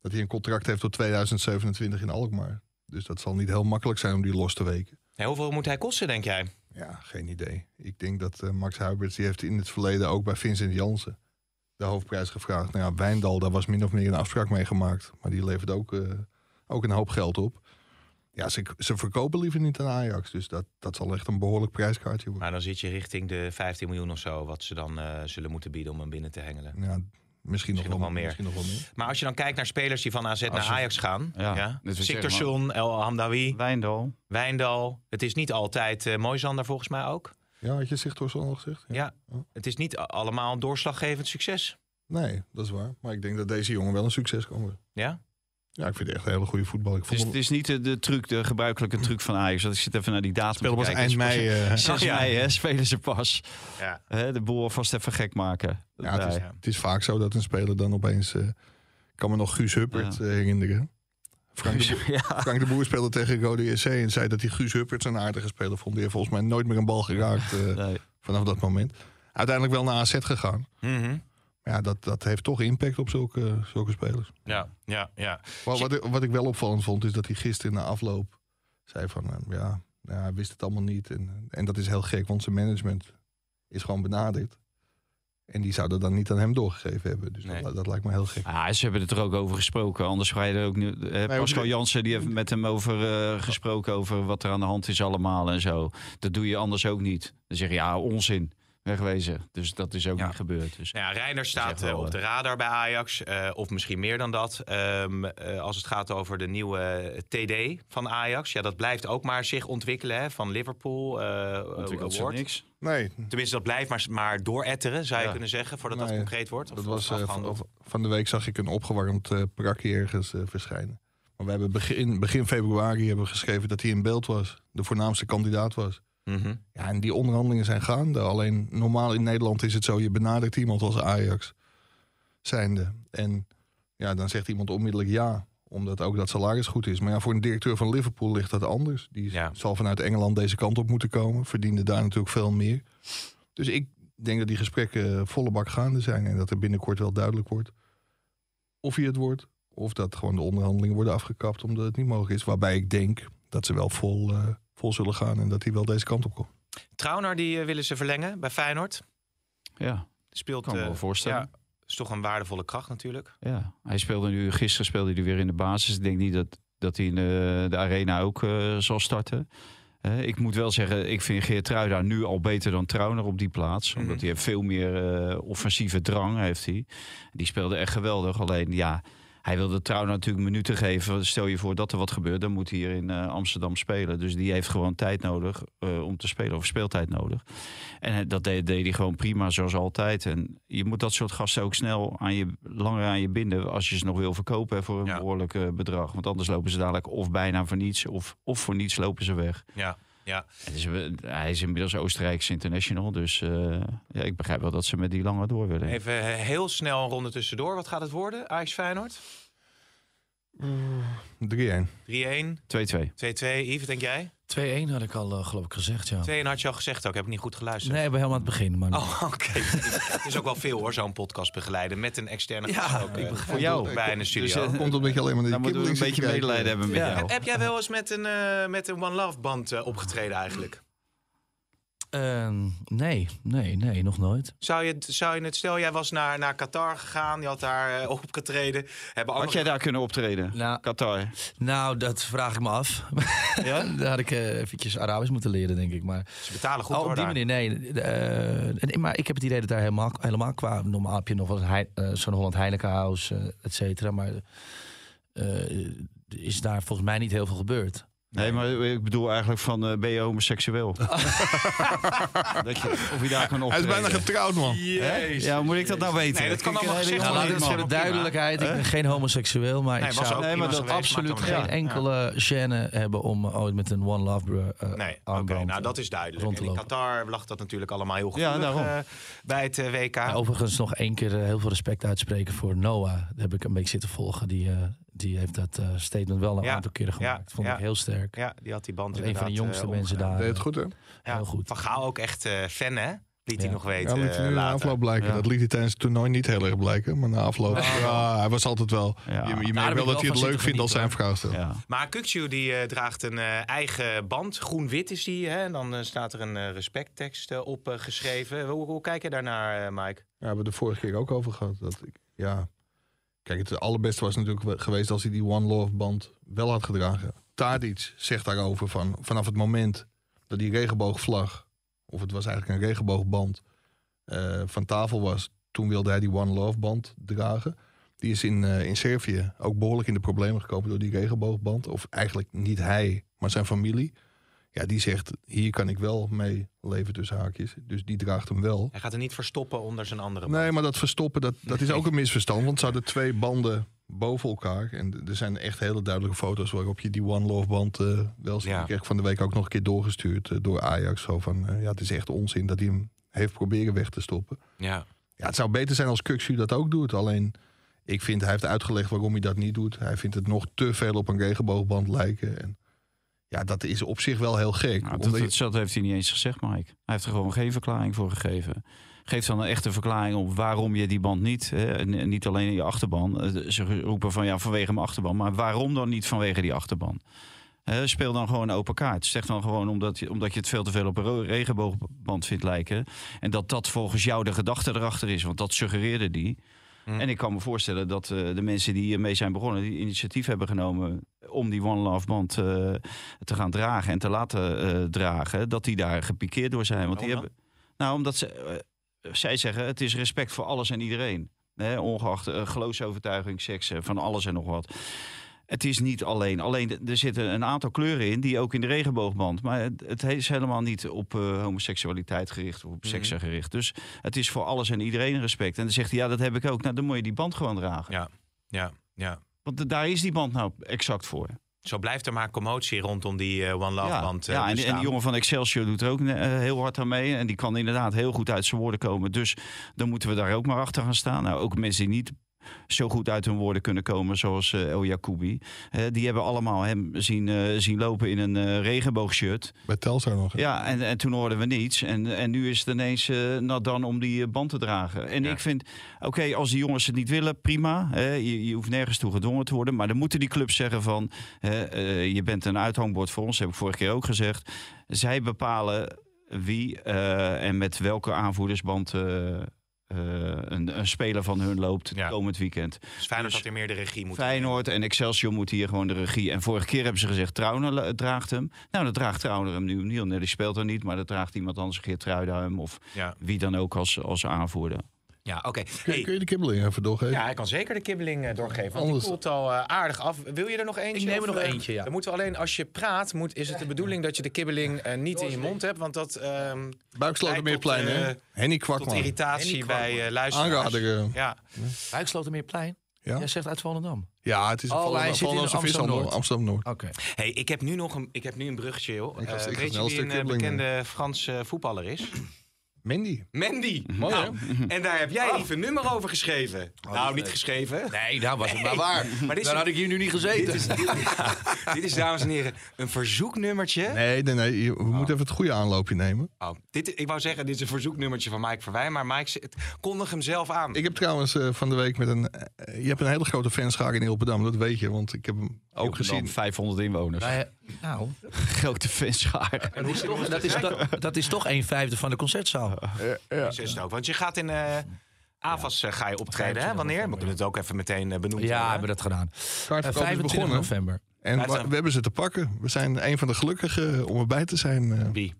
S4: dat hij een contract heeft tot 2027 in Alkmaar. Dus dat zal niet heel makkelijk zijn om die los te weken.
S3: Hey, hoeveel moet hij kosten, denk jij?
S4: Ja, geen idee. Ik denk dat eh, Max Huberts, die heeft in het verleden ook bij Vincent Jansen de hoofdprijs gevraagd. Nou ja, Wijndal, daar was min of meer een afspraak mee gemaakt. Maar die levert ook, eh, ook een hoop geld op. Ja, ze, ze verkopen liever niet aan Ajax. Dus dat, dat zal echt een behoorlijk prijskaartje worden.
S3: Maar Nou, dan zit je richting de 15 miljoen of zo, wat ze dan eh, zullen moeten bieden om hem binnen te hengelen.
S4: Ja, misschien, nog, wel,
S3: nog wel meer.
S4: meer. Misschien nog wel meer.
S3: Maar als je dan kijkt naar spelers die van AZ naar
S6: Als je-
S3: Ajax gaan. Ja,
S6: Ja, dat wil zeggen,
S3: Siktersson, El Hamdawi,
S6: Wijndal.
S3: Wijndal. Het is niet altijd eh Moisander volgens mij ook.
S4: Ja, had je Sigtorsson al gezegd?
S3: Ja. Het is niet a- allemaal een doorslaggevend succes.
S4: Nee, dat is waar. Maar ik denk dat deze jongen wel een succes kan worden.
S3: Ja?
S4: Ja, ik vind het echt een hele goede voetbal. Ik
S6: Het
S4: vond
S6: is,
S4: hem-
S6: Dus het is niet de, de truc, de gebruikelijke truc van Ajax. Want ik zit even naar die datum
S4: Spelen
S6: te
S4: was
S6: kijken.
S4: eind
S6: Het is
S4: mei.
S6: pas-
S4: eh,
S6: 6
S3: Ja.
S6: mei, hè, spelen ze pas.
S3: Ja.
S6: Hè, de boel alvast even gek maken.
S4: Ja, het is,
S6: Nee.
S4: het is vaak zo dat een speler dan opeens... eh, kan me nog Guus Huppert
S6: Ja.
S4: eh, herinneren. Frank de, Boer,
S6: Ja.
S4: Frank de Boer speelde tegen Rode SC en zei dat hij Guus Huppert een aardige speler vond. Die heeft volgens mij nooit meer een bal geraakt eh,
S6: Nee.
S4: vanaf dat moment. Uiteindelijk wel naar AZ gegaan.
S3: Mhm.
S4: Maar Ja, dat, dat heeft toch impact op zulke, zulke spelers.
S3: ja, ja, ja.
S4: Wat, wat, ik- wat ik wel opvallend vond, is dat hij gisteren na afloop zei van... eh, ja, nou, hij wist het allemaal niet. En, en dat is heel gek, want zijn management is gewoon benaderd. En die zouden dan niet aan hem doorgegeven hebben. Dus
S3: Nee.
S4: dat, dat lijkt me heel gek.
S6: Ah, ze hebben het er ook over gesproken. Anders ga je er ook nu. eh,
S4: maar
S6: Pascal
S4: dit-
S6: Jansen die heeft met hem over eh, gesproken. Over wat er aan de hand is, allemaal en zo. Dat doe je anders ook niet. Dan zeg je ja, onzin. Wegwezen. Dus dat is ook
S3: Ja.
S6: niet gebeurd. Dus.
S3: Nou ja, Reiner staat
S6: echt wel,
S3: eh, op
S6: eh,
S3: de radar bij Ajax. eh, of misschien meer dan dat. Ehm, eh, als het gaat over de nieuwe eh, TD van Ajax. Ja, dat blijft ook maar zich ontwikkelen. Hè, van Liverpool. eh,
S6: Ontwikkelt zich
S3: Award.
S6: niks.
S4: Nee,
S3: Tenminste, dat blijft maar, maar dooretteren, zou je
S6: Ja.
S3: kunnen zeggen. Voordat dat
S4: Nee,
S3: concreet wordt. Of
S4: Dat was, eh, van,
S3: afgehandeld.
S4: of- van de week zag ik een opgewarmd eh prakje ergens eh, verschijnen. Maar we hebben begin, begin februari hebben we geschreven dat hij in beeld was. De voornaamste kandidaat was.
S3: Mhm.
S4: Ja, en die onderhandelingen zijn gaande. Alleen normaal in Nederland is het zo, je benadert iemand als Ajax zijnde. En ja, dan zegt iemand onmiddellijk ja. Omdat ook dat salaris goed is. Maar ja, voor een directeur van Liverpool ligt dat anders. Die
S3: Ja.
S4: zal vanuit Engeland deze kant op moeten komen. Verdiende daar natuurlijk veel meer. Dus ik denk dat die gesprekken volle bak gaande zijn. En dat er binnenkort wel duidelijk wordt of hij het wordt. Of dat gewoon de onderhandelingen worden afgekapt omdat het niet mogelijk is. Waarbij ik denk dat ze wel vol, eh, vol zullen gaan en dat hij wel deze kant op komt.
S3: Trauner die eh, willen ze verlengen bij Feyenoord.
S6: Ja,
S3: Speelt,
S6: kan me
S3: eh,
S6: wel voorstellen.
S3: ja, is toch een waardevolle kracht natuurlijk.
S6: Ja, hij speelde nu, gisteren speelde hij weer in de basis. Ik denk niet dat, dat hij in eh, de arena ook eh, zal starten. Eh, ik moet wel zeggen, ik vind Geertruida nu al beter dan Trauner op die plaats. Omdat hij heeft veel meer eh, offensieve drang heeft hij. Die speelde echt geweldig. Alleen ja, hij wilde Trauner natuurlijk minuten geven. Stel je voor dat er wat gebeurt, dan moet hij hier in eh, Amsterdam spelen. Dus die heeft gewoon tijd nodig eh, om te spelen of speeltijd nodig. En eh, dat deed, deed hij gewoon prima, zoals altijd. En je moet dat soort gasten ook snel aan je, langer aan je binden. als je ze nog wil verkopen hè, voor een
S3: Ja.
S6: behoorlijk eh, bedrag. Want anders lopen ze dadelijk of bijna voor niets. of, of voor niets lopen ze weg.
S3: Ja, ja.
S6: Het is, eh, hij is inmiddels Oostenrijks international. Dus eh, ja, ik begrijp wel dat ze met die langer door willen.
S3: Even eh, heel snel een ronde tussendoor. Wat gaat het worden? Ajax Feyenoord? 3-1, 2-2.
S4: 3-1.
S6: 2-2.
S3: Yves, denk jij?
S5: 2-1 had ik al, eh, geloof ik, gezegd, ja.
S3: 2-1 had je al gezegd ook. Heb ik niet goed geluisterd.
S5: Nee, bij helemaal aan het begin. Maar
S3: Oh, oké. het is ook wel veel hoor, zo'n podcast begeleiden. Met een externe gast ook, eh,
S6: Voor jou.
S3: bij in de
S6: Dus,
S3: studio.
S6: eh,
S4: Dat komt omdat je alleen maar naar
S6: dan
S4: die
S6: moeten we een
S4: kippeling zit te
S6: beetje
S4: kijken. eh.
S6: medelijden hebben met
S5: Ja.
S6: jou.
S3: Heb jij wel eens met een, eh, met een One Love band eh, opgetreden eigenlijk?
S5: Ehm, nee, nee, nee, nog nooit.
S3: Zou je, het- zou je het, stel jij was naar, naar Qatar gegaan, je had daar eh, opgetreden. Hebben
S6: Had
S3: andere,
S6: jij daar kunnen optreden?
S5: Nou,
S6: Qatar.
S5: nou, dat vraag ik me af. Daar had ik eh, eventjes Arabisch moeten leren, denk ik. Maar
S3: Ze betalen goed
S5: Oh,
S3: hoor
S5: op die
S3: daar.
S5: manier, nee. Eh, nee, maar ik heb het idee dat daar helemaal, helemaal qua... Normaal heb je nog wel eens hei- eh, zo'n Holland Heinekenhuis, eh et cetera. Maar eh, eh, is daar volgens mij niet heel veel gebeurd.
S6: Nee, maar ik bedoel eigenlijk van, eh, ben je homoseksueel? dat je, of je daar kan optreden.
S4: Hij is bijna getrouwd, man.
S3: Jezus.
S6: Ja, hoe moet ik dat nou weten?
S3: Nee, dat kan
S6: Ik-
S3: allemaal
S6: ik-
S3: gezegd
S6: ik-
S5: Nou,
S3: worden.
S6: ik-
S3: helemaal
S5: laten we voor de
S3: prima. Eh?
S5: duidelijkheid, ik ben geen homoseksueel, maar
S3: Nee,
S5: ik
S3: was
S5: zou
S3: ook
S6: Nee, maar
S3: iemand
S6: dat
S3: geweest,
S6: absoluut
S3: maakt
S5: geen
S3: allemaal niet uit.
S5: enkele chaîne hebben om ooit met een One Love bro, eh,
S3: Nee, oké,
S5: armband,
S3: nou
S5: eh,
S3: dat is duidelijk.
S5: rond
S3: En
S5: te
S3: in
S5: lopen.
S3: Qatar lag dat natuurlijk allemaal heel goed eh,
S6: Ja, daarom.
S3: bij het eh, WK.
S5: Ja, Overigens nog één keer eh, heel veel respect uitspreken voor Noah. Daar heb ik een beetje zitten volgen. Die, eh, die heeft dat eh, statement wel een
S3: Ja,
S5: aantal keren
S3: ja,
S5: gemaakt. Vond
S3: ja.
S5: ik heel sterk.
S3: ja, die had die band
S5: Dat is een van de
S3: inderdaad,
S5: jongste
S3: eh,
S5: mensen
S3: omgedaan.
S5: daar.
S4: Deed het goed, hè?
S5: Heel goed.
S3: Van Gaal ook echt eh, fan, hè? Liet hij
S5: Ja.
S3: nog weten
S4: Ja, liet hij
S3: eh,
S4: nu na
S3: later.
S4: afloop blijken.
S6: Ja.
S4: Dat liet hij tijdens het toernooi niet heel erg blijken. Maar na afloop, ja, hij was altijd wel...
S6: Ja.
S4: Je, je
S5: daar
S4: merkt
S5: heb
S4: wel
S5: ik
S4: dat
S5: wel
S4: hij het
S5: van
S4: leuk
S5: zitten
S4: vindt als zijn
S5: genieten,
S4: vraag stelt.
S6: Ja.
S3: Maar Kukçu die eh, draagt een eh, eigen band. Groen-wit is die. Hè? En dan eh, staat er een eh, respecttekst eh, op eh, geschreven. Hoe, hoe kijk je daarnaar, eh, Mike?
S4: Ja, we hebben het de vorige keer ook over gehad. Dat ik, ja. Kijk, het allerbeste was natuurlijk we- geweest als hij die One Love band wel had gedragen. Tadic zegt daarover van vanaf het moment dat die regenboogvlag, of het was eigenlijk een regenboogband, eh, van tafel was, toen wilde hij die One Love band dragen. Die is in, eh, in Servië ook behoorlijk in de problemen gekomen door die regenboogband. Of eigenlijk niet hij, maar zijn familie. Ja, die zegt, hier kan ik wel mee leven tussen haakjes. Dus die draagt hem wel.
S3: Hij gaat er niet verstoppen onder zijn andere band.
S4: Nee, maar dat verstoppen, dat, dat is ook een misverstand. Want ze hadden twee banden boven elkaar. En d- er zijn echt hele duidelijke foto's waarop je die One Love band eh, wel ziet.
S3: Ja.
S4: Ik kreeg van de week ook nog een keer doorgestuurd eh, door Ajax. Zo van, eh, ja, het is echt onzin dat hij hem heeft proberen weg te stoppen.
S3: Ja.
S4: Ja, het zou beter zijn als Kuxu dat ook doet. Alleen, ik vind, hij heeft uitgelegd waarom hij dat niet doet. Hij vindt het nog te veel op een regenboogband lijken. En ja, dat is op zich wel heel gek.
S6: Nou, dat,
S4: Omdat je-
S6: dat, dat heeft hij niet eens gezegd, Mike. Hij heeft er gewoon geen verklaring voor gegeven. Geef dan een echte verklaring op waarom je die band niet... Hè, en- en niet alleen in je achterban. eh, Ze roepen van ja, vanwege mijn achterban. Maar waarom dan niet vanwege die achterban? Hè, speel dan gewoon open kaart. Zeg dan gewoon omdat je, omdat je het veel te veel op een ro- regenboogband vindt lijken. En dat dat volgens jou de gedachte erachter is. Want dat suggereerde die. En ik kan me voorstellen dat eh, de mensen die hiermee zijn begonnen... die initiatief hebben genomen om die One Love band... eh, te gaan dragen en te laten eh, dragen, dat die daar gepikeerd door zijn. Want die
S3: Waarom
S6: hebben, nou, omdat ze, eh, zij zeggen: het is respect voor alles en iedereen. Hè, ongeacht eh, geloofsovertuiging, seks, eh, van alles en nog wat. Het is niet alleen. Alleen d- er zitten een aantal kleuren in die ook in de regenboogband. Maar het, het is helemaal niet op eh, homoseksualiteit gericht of
S3: Mhm.
S6: op seksen gericht. Dus het is voor alles en iedereen respect. En dan zegt hij: ja, dat heb ik ook. Nou, dan moet je die band gewoon dragen.
S3: Ja, ja, ja.
S6: Want d- daar is die band nou exact voor.
S3: Zo blijft er maar commotie rondom die eh, One Love band eh,
S6: ja, en, die- en
S3: bestaan.
S6: die jongen van Excelsior doet er ook eh, heel hard aan mee. En die kan inderdaad heel goed uit zijn woorden komen. Dus dan moeten we daar ook maar achter gaan staan. Nou, ook mensen die niet zo goed uit hun woorden kunnen komen, zoals eh, El Jacoubi. Eh, die hebben allemaal hem zien, eh, zien lopen in een eh, regenboogshirt.
S4: Bij Telstar nog. hè?
S6: Ja, en, en toen hoorden we niets. En, en nu is het ineens eh dan om die eh, band te dragen. En
S3: Ja.
S6: ik vind, oké, als die jongens het niet willen, prima. Hè, je, je hoeft nergens toe gedwongen te worden. Maar dan moeten die clubs zeggen van... hè, eh, je bent een uithangbord voor ons, heb ik vorige keer ook gezegd. Zij bepalen wie eh, en met welke aanvoerdersband... eh, eh, een, een speler van hun loopt
S3: Ja.
S6: komend weekend.
S3: Dus Feyenoord
S6: Dus
S3: had hier meer de regie moeten
S6: Feyenoord en Excelsior moeten hier gewoon de regie. En vorige keer hebben ze gezegd, Trauner la- draagt hem. Nou, dat draagt Trauner hem nu niet. Nee, die speelt er niet, maar dat draagt iemand anders, Geertruida hem. Of
S3: Ja,
S6: wie dan ook als, als aanvoerder.
S3: ja oké.
S4: Kun,
S3: Hey,
S4: kun je de kibbeling even doorgeven?
S3: Ja, hij kan zeker de kibbeling eh, doorgeven. Want
S4: Anders-
S3: die koelt al eh, aardig af. Wil je er nog eentje?
S5: Ik neem er
S3: Of,
S5: nog
S3: eh,
S5: eentje, ja.
S3: Dan moeten we alleen, als je praat, moet, is het de bedoeling dat je de kibbeling eh, niet in je mond hebt. Want dat ehm,
S4: Buikslotermeerplein,
S3: Leidt tot,
S4: hè? Henny
S3: tot
S4: Kwakman.
S3: irritatie bij eh, luisteraars.
S4: Aanrader. eh,
S3: Ja,
S5: Rijkslotermeerplein?
S4: Ja?
S5: Jij zegt uit Volendam.
S4: Ja, het is een
S5: Oh, hij
S4: Volendam-
S5: zit in
S4: Volendamse vishandel.
S5: Amsterdam-Noord.
S4: Amsterdam-Noord.
S3: Ah,
S5: Oké.
S3: hey, ik, heb nu nog een, ik heb nu een bruggetje, joh.
S4: Ik ga-
S3: Eh,
S4: ik ga
S3: weet
S4: snel
S3: je
S4: een
S3: wie
S4: stuk
S3: een eh,
S4: kibbeling
S3: bekende Franse eh, voetballer is?
S4: Mandy.
S3: Mandy. Mooi, En daar heb jij even nummer over geschreven. nou, niet geschreven.
S5: Nee, nou was het maar
S3: waar. Maar dit is-
S5: Dan had ik hier nu niet gezeten.
S3: Dit is, dames en heren, een verzoeknummertje.
S4: Nee, nee, nee.
S3: Ah.
S4: je- We moeten even het goede aanloopje nemen.
S3: Oh, dit, ik wou zeggen, dit is een verzoeknummertje van Mike Verwij, maar Mike z- het- kondig hem zelf aan.
S4: Ik heb trouwens eh, van de week met een... eh, je hebt een hele grote fanschaar in Hilpendam. Dat weet je, want ik heb hem ook gezien.
S6: 500 inwoners.
S5: Nou, ja, nou,
S6: Grote fanschaar.
S3: en hoe zit- hoe is
S5: dat
S3: het
S5: is,
S3: eruit?
S5: dat, dat is toch een vijfde van de concertzaal.
S3: Zo is het ook. Want je gaat in eh AFAS eh, ga je optreden, hè? Wanneer? We kunnen het ook even meteen eh, benoemen.
S5: Ja,
S3: hè?
S5: hebben we dat gedaan. Eh,
S4: Kaartverkoop is
S5: 25
S4: begonnen.
S5: november.
S4: En
S3: Ja, het
S4: wa-
S3: zijn-
S4: we hebben ze te pakken. We zijn een van de gelukkigen om erbij te zijn. eh.
S3: Wie?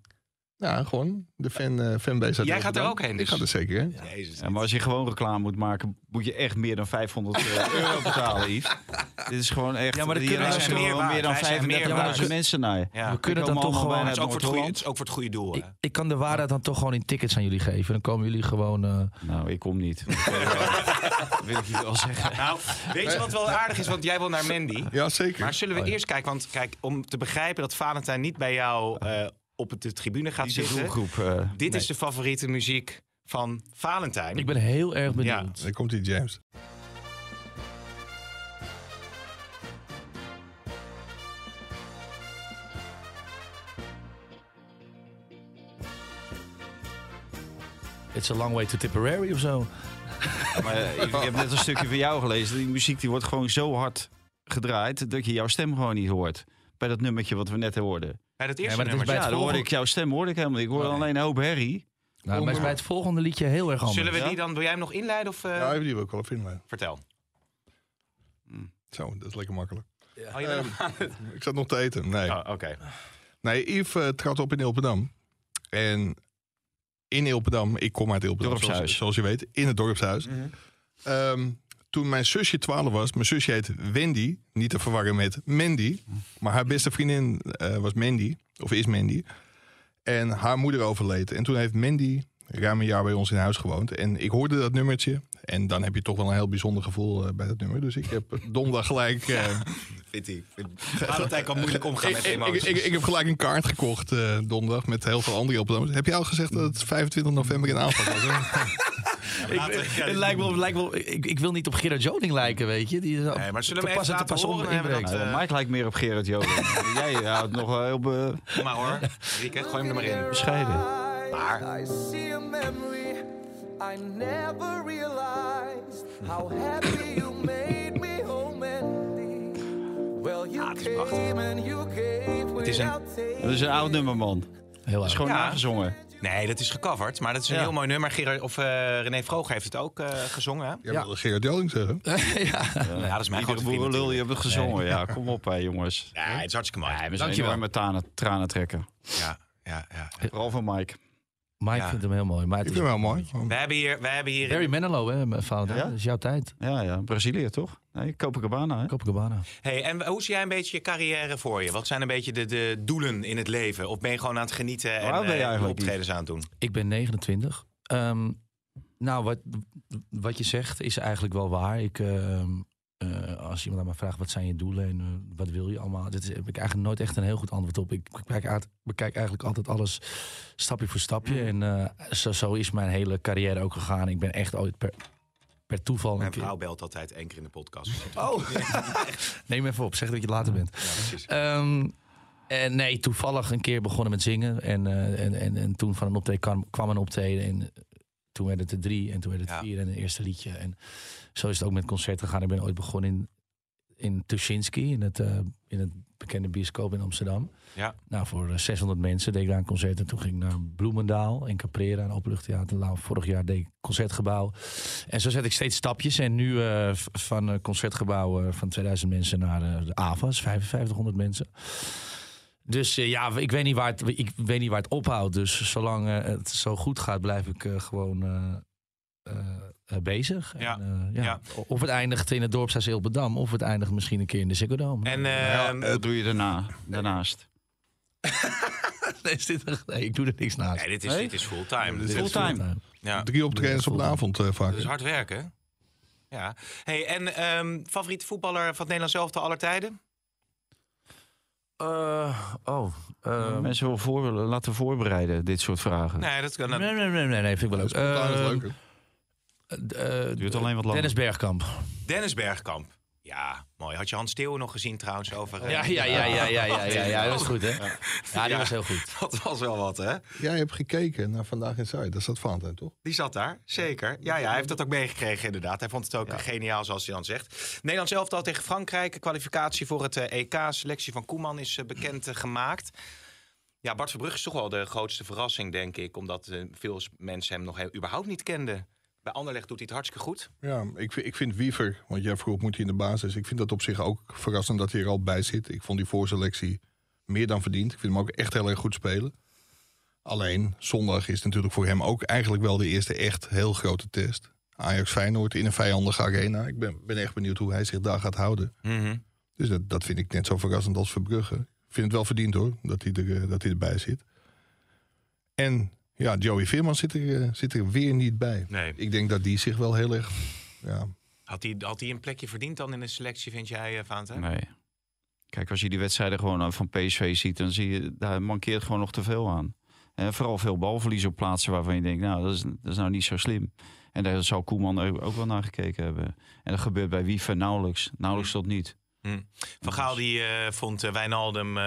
S4: Ja, gewoon. De fan, eh, fanbase. uit
S3: Jij gaat er
S4: Rotterdam.
S3: ook heen, dus?
S4: Ik ga er zeker heen.
S3: Jezus.
S6: Ja, maar als je gewoon reclame moet maken, moet je echt meer dan 500 euro betalen, Yves. Dit is gewoon echt...
S5: Ja, maar dat
S6: hier
S5: kunnen wij
S6: luisteren
S3: zijn meer
S6: wel
S3: waard.
S6: meer dan
S3: Wij zijn meer
S6: 35.000
S5: waard.
S6: mensen naar je.
S3: Ja.
S5: We
S3: Maar
S5: kunnen
S6: Die
S5: dan
S6: komen
S5: toch
S6: allemaal
S5: gewoon...
S6: bijna
S3: het is ook voor het goede-
S6: Noord-Holland.
S3: het is ook voor het goede doel. hè?
S5: Ik, ik kan de waarheid dan toch gewoon in tickets aan jullie geven. Dan komen jullie gewoon... eh,
S6: Nou, ik kom niet. wil ik je wel zeggen.
S3: Nou, weet je wat wel aardig is? Want jij wil naar Mandy.
S4: Ja, zeker.
S3: Maar
S5: Oh,
S3: zullen we eerst kijken, want kijk, om te begrijpen dat Valentijn niet bij jou eh, op de tribune gaat
S6: Die
S3: zitten.
S6: doelgroep. eh,
S3: Dit is de favoriete muziek van Valentijn.
S5: ik ben heel erg benieuwd.
S4: Daar komt die James.
S5: It's a long way to Tipperary of zo.
S6: Maar eh, ik, ik heb net een stukje van jou gelezen. Die muziek die wordt gewoon zo hard gedraaid dat je jouw stem gewoon niet hoort. Bij dat nummertje wat we net hoorden.
S3: Bij dat
S5: Ja,
S3: eerste
S5: maar dat is
S3: nummer.
S5: bij
S6: Ja,
S5: het
S6: dan hoorde
S5: volgende-
S6: ik jouw stem hoorde ik helemaal niet. Ik hoorde alleen een hoop herrie.
S5: Nou, maar is bij het volgende liedje heel erg anders.
S3: Zullen we
S6: Ja?
S3: die dan, wil jij hem nog inleiden of eh,
S4: Ja, hebben die wel al vinden.
S3: vertel?
S4: Zo, dat is lekker makkelijk.
S3: Oh, je bent nog-
S4: Ik zat nog te eten. Nee.
S3: Oh, oké.
S4: Nee, Yves eh, trad op in Ilpendam. En in Ilpendam, ik kom uit Ilpendam,
S6: Dorpshuis.
S4: zoals, zoals je weet, in het dorpshuis. Ehm, toen mijn zusje 12 was, mijn zusje heet Wendy, niet te verwarren met Mandy. Maar haar beste vriendin eh, was Mandy, of is Mandy. En haar moeder overleed. En toen heeft Mandy ruim een jaar bij ons in huis gewoond. En ik hoorde dat nummertje. En dan heb je toch wel een heel bijzonder gevoel eh, bij dat nummer. Dus ik heb donderdag gelijk... eh,
S3: Vindt hij. Valentijn kan moeilijk omgaan
S4: ik,
S3: met
S4: ik,
S3: emoties.
S4: ik- ik heb gelijk een kaart gekocht eh, donderdag met heel veel andere opnames. Heb jij al gezegd dat het 25 november in aanpak was? hè?
S3: Laten we- ja,
S5: Het lijkt wel, lijkt wel, ik, ik wil niet op Gerard Joning lijken, weet je. Die is
S3: Nee, maar zullen we hem even laten horen? Dan hebben we dat,
S6: Nou,
S3: eh,
S6: Mike lijkt meer op Gerard Joling. Jij houdt nog wel heel be-
S3: Kom maar hoor. Rieke, gooi hem er maar in.
S6: bescheiden.
S3: Maar,
S7: I see a memory I never realized how happy you made me home and Well, you
S3: Ah, het is prachtig.
S7: came and you gave
S3: is een-
S7: without
S6: Dat
S7: taking.
S6: is een oud nummer, man. Dat
S5: Heel
S6: is
S5: erg.
S6: gewoon
S3: Ja.
S6: nagezongen.
S3: nee, dat is gecoverd. Maar dat is een
S6: Ja.
S3: heel mooi nummer. Gerard, of eh, René Vroger heeft het ook eh, gezongen. hè?
S4: Jij wilde Gerard Joling zeggen.
S3: Ja, dat is mijn
S6: Iedere
S3: grote vriend
S6: boerenlul, je
S3: natuurlijk.
S6: hebt het gezongen. Ja, kom op, hè, jongens.
S3: Ja, het is hartstikke mooi.
S6: We zijn
S5: Dankjewel.
S6: enorme tranen, tranen trekken.
S3: Ja, ja, ja.
S6: Vooral van Mike.
S5: Mike
S3: Ja.
S5: vindt hem heel mooi. Maar het
S4: Ik
S5: is
S4: vind hem wel mooi.
S3: We hebben hier... We hebben hier
S5: Barry Manilow, hè, Fouten.
S6: Ja?
S5: Dat is jouw tijd.
S6: Ja, ja. Brazilië, toch? Nee, Copacabana, hè?
S5: Copacabana.
S3: Hey, en hoe zie jij een beetje je carrière voor je? Wat zijn een beetje de, de doelen in het leven? Of ben je gewoon aan het genieten en
S6: oud ben je
S3: eh,
S6: eigenlijk, Oh,
S3: optredens aan het doen?
S5: Ik ben 29. Ehm, nou, wat, wat je zegt is eigenlijk wel waar. Ik, ehm, eh, als iemand aan mij vraagt, wat zijn je doelen en eh, wat wil je allemaal? Daar heb ik eigenlijk nooit echt een heel goed antwoord op. Ik bekijk, uit- bekijk eigenlijk altijd alles stapje voor stapje. En eh, zo, zo is mijn hele carrière ook gegaan. Ik ben echt ooit per, per toeval een
S3: Mijn
S5: keer...
S3: vrouw belt altijd één keer in de podcast.
S5: Oh, neem even op. Zeg dat je later bent.
S3: Ja, precies.
S5: Ehm, en nee, toevallig een keer begonnen met zingen. En, eh, en, en, en toen van een optreden kwam, kwam een optreden. En toen werd het er drie. En toen werd het
S3: Ja.
S5: vier. En een eerste liedje. En zo is het ook met concerten gegaan. Ik ben ooit begonnen in, in Tuschinski. In het, eh, in het bekende bioscoop in Amsterdam.
S3: Ja.
S5: Nou, voor eh, 600 mensen deed ik daar een concert. En toen ging ik naar Bloemendaal en Caprera, een openluchttheater. Nou, vorig jaar deed ik Concertgebouw. En zo zet ik steeds stapjes. En nu eh, v- van eh, Concertgebouw eh, van 2000 mensen naar eh, de AVAS, 5500 mensen. Dus eh, ja, ik weet, niet waar het, ik weet niet waar het ophoudt. Dus zolang eh, het zo goed gaat, blijf ik eh, gewoon eh, eh, eh, bezig.
S3: Ja.
S5: En, eh, ja.
S3: Ja.
S5: Of het eindigt in het dorpshuis Ilpendam, of het eindigt misschien een keer in de Ziggo Dome.
S3: En
S6: Ja,
S3: ehm,
S6: wat doe je daarna, daarnaast?
S5: Nee, is dit een- nee, ik doe er niks naast.
S3: nee, dit is, dit is fulltime. Dit is-
S6: Fulltime.
S3: Ja.
S4: Drie optredens op een avond eh, vaak.
S3: Dat is hard werken. Ja. Hey, en ehm favoriete voetballer van het Nederlands elftal aller tijden?
S5: Eh, oh. eh,
S6: Mensen wel voor, laten voorbereiden, dit soort vragen.
S3: Nee, dat kan.
S5: nee, nee, nee, nee, nee, vind ik wel leuk.
S4: Spontaan is
S5: Eh,
S4: leuker.
S3: Ehm,
S5: eh, eh,
S6: Duurt alleen wat langer.
S5: Dennis Bergkamp.
S3: Dennis Bergkamp. Ja, mooi. Had je Hans Steeuwen nog gezien trouwens over... eh,
S5: Ja, ja, ja, ja, ja, ja, ja, ja, dat was goed, hè? Ja, die
S3: Ja.
S5: was heel goed.
S3: Dat was wel wat, hè?
S4: Jij hebt gekeken naar Vandaag in Zuid. Dat is dat Valentijn, toch?
S3: Die zat daar, zeker. Ja, ja, hij heeft dat ook meegekregen inderdaad. Hij vond het ook eh, geniaal, zoals hij dan zegt. Nederlands elftal tegen Frankrijk. Kwalificatie voor het eh, EK. Selectie van Koeman is eh, bekend eh, gemaakt. Ja, Bart Verbrugge is toch wel de grootste verrassing, denk ik. Omdat eh, veel s- mensen hem nog he- überhaupt niet kenden. Bij Anderlecht doet hij het hartstikke goed.
S4: Ja, ik, vi- ik vind Wiever, want jij vroeg moet hij in de basis. Ik vind dat op zich ook verrassend dat hij er al bij zit. Ik vond die voorselectie meer dan verdiend. Ik vind hem ook echt heel erg goed spelen. Alleen, zondag is natuurlijk voor hem ook eigenlijk wel de eerste echt heel grote test. Ajax Feyenoord in een vijandige arena. Ik ben, ben echt benieuwd hoe hij zich daar gaat houden.
S5: Mhm.
S4: Dus dat, dat vind ik net zo verrassend als Verbrugge. Ik vind het wel verdiend hoor, dat hij, er, eh, dat hij erbij zit. En ja, Joey Veerman zit er, eh, zit er weer niet bij.
S3: Nee.
S4: Ik denk dat die zich wel heel erg... Ja,
S3: Had hij, had hij een plekje verdiend dan in de selectie, vind jij, eh, Vaantje?
S6: Nee. Kijk, als je die wedstrijden gewoon eh, van PSV ziet, dan zie je, daar mankeert gewoon nog te veel aan. En vooral veel balverlies op plaatsen waarvan je denkt, nou, dat is, dat is nou niet zo slim. En daar zal Koeman ook ook wel naar gekeken hebben. En dat gebeurt bij Wiever nauwelijks. Nauwelijks
S5: Hmm.
S6: tot niet.
S3: Van Gaal die, eh, vond eh, Wijnaldum eh,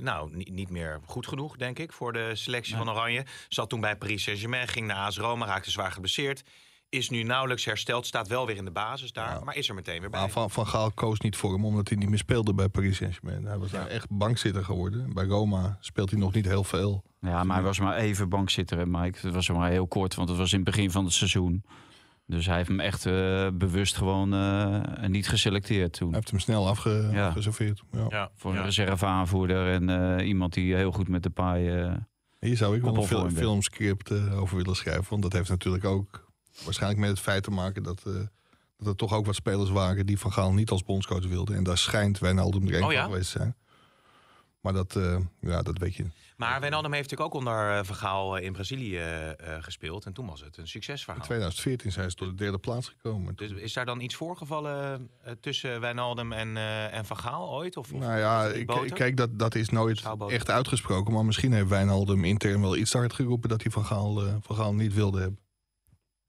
S3: nou, ni- niet meer goed genoeg, denk ik, voor de selectie van Oranje. Zat toen bij Paris Saint-Germain, ging naar AS Roma, raakte zwaar geblesseerd. Is nu nauwelijks hersteld, staat wel weer in de basis daar, maar is er meteen weer bij.
S4: Maar van, van Gaal koos niet voor hem omdat hij niet meer speelde bij Paris Saint-Germain. Hij was daar echt bankzitter geworden. Bij Roma speelt hij nog niet heel veel.
S6: Ja, maar hij was maar even bankzitter, hè, Mike. Het was maar heel kort, want het was in het begin van het seizoen. Dus hij heeft hem echt eh, bewust gewoon eh, niet geselecteerd toen.
S4: Hij heeft hem snel
S6: Ja.
S4: afgeserveerd. Ja.
S3: ja,
S6: Voor een
S3: ja.
S6: reserveaanvoerder en eh, iemand die heel goed met de paai... eh,
S4: Hier zou ik wel een
S6: Koppel voor
S4: fil-
S6: hem, ja.
S4: filmscript eh, over willen schrijven. Want dat heeft natuurlijk ook waarschijnlijk met het feit te maken dat, eh, dat er toch ook wat spelers waren die Van Gaal niet als bondscoach wilden. En daar schijnt Wijnaldum er één
S3: Oh ja?
S4: van geweest te zijn. Maar dat, eh, ja, dat weet je.
S3: Maar Wijnaldum heeft natuurlijk ook onder eh, Van Gaal eh, in Brazilië eh, eh, gespeeld. En toen was het een
S4: In
S6: Nou.
S3: succesverhaal.
S4: 2014 zijn ze tot de derde plaats gekomen.
S3: Dus is daar dan iets voorgevallen eh, tussen Wijnaldum en, eh, en Van Gaal ooit? Of, of-
S4: Nou ja,
S3: is het
S4: ik-
S3: boter?
S4: kijk, dat, dat is nooit
S3: Schouwboter.
S4: echt uitgesproken. Maar misschien heeft Wijnaldum intern wel iets te hard geroepen... dat hij Van Gaal, eh, van Gaal niet wilde hebben.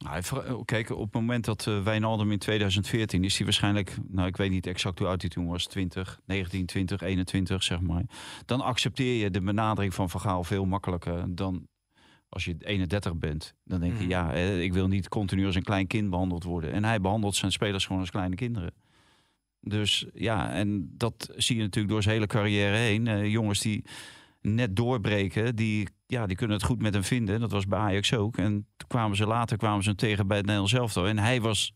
S6: Nou, hij vra- kijk, op het moment dat eh, Wijnaldum in 2014 is hij waarschijnlijk, nou ik weet niet exact hoe oud hij toen was, 20, 19, 20, 21 zeg maar. Dan accepteer je de benadering van Van Gaal veel makkelijker dan als je 31 bent. Dan denk je,
S3: Mhm.
S6: ja, eh, ik wil niet continu als een klein kind behandeld worden. En hij behandelt zijn spelers gewoon als kleine kinderen. Dus ja, en dat zie je natuurlijk door zijn hele carrière heen. Eh, jongens die net doorbreken, die, ja, die kunnen het goed met hem vinden. Dat was bij Ajax ook. En toen kwamen ze later kwamen ze hem tegen bij het Nederlands elftal. En hij was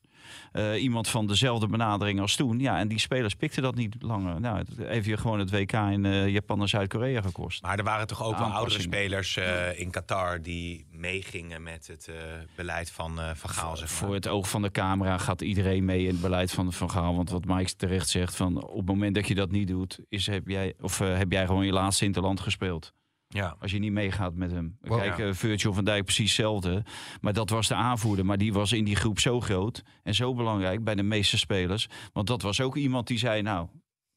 S6: eh, iemand van dezelfde benadering als toen. Ja, en die spelers pikten dat niet langer. Nou, het heeft je gewoon het WK in eh, Japan en Zuid-Korea gekost.
S3: Maar er waren toch ook wel oudere
S6: Aanpassingen.
S3: spelers eh, in Qatar die meegingen met het eh, beleid van eh Van Gaal. Zeg maar.
S6: Voor het oog van de camera gaat iedereen mee in het beleid van Van Gaal. Want wat Mike terecht zegt, van op het moment dat je dat niet doet... Is, heb, jij, of, eh, heb jij gewoon je laatste interland gespeeld.
S3: ja.
S6: Als je niet meegaat met hem.
S4: Wow.
S6: Kijk,
S3: Ja.
S6: eh, Virgil van Dijk precies hetzelfde. Maar dat was de aanvoerder. Maar die was in die groep zo groot en zo belangrijk bij de meeste spelers. Want dat was ook iemand die zei, nou,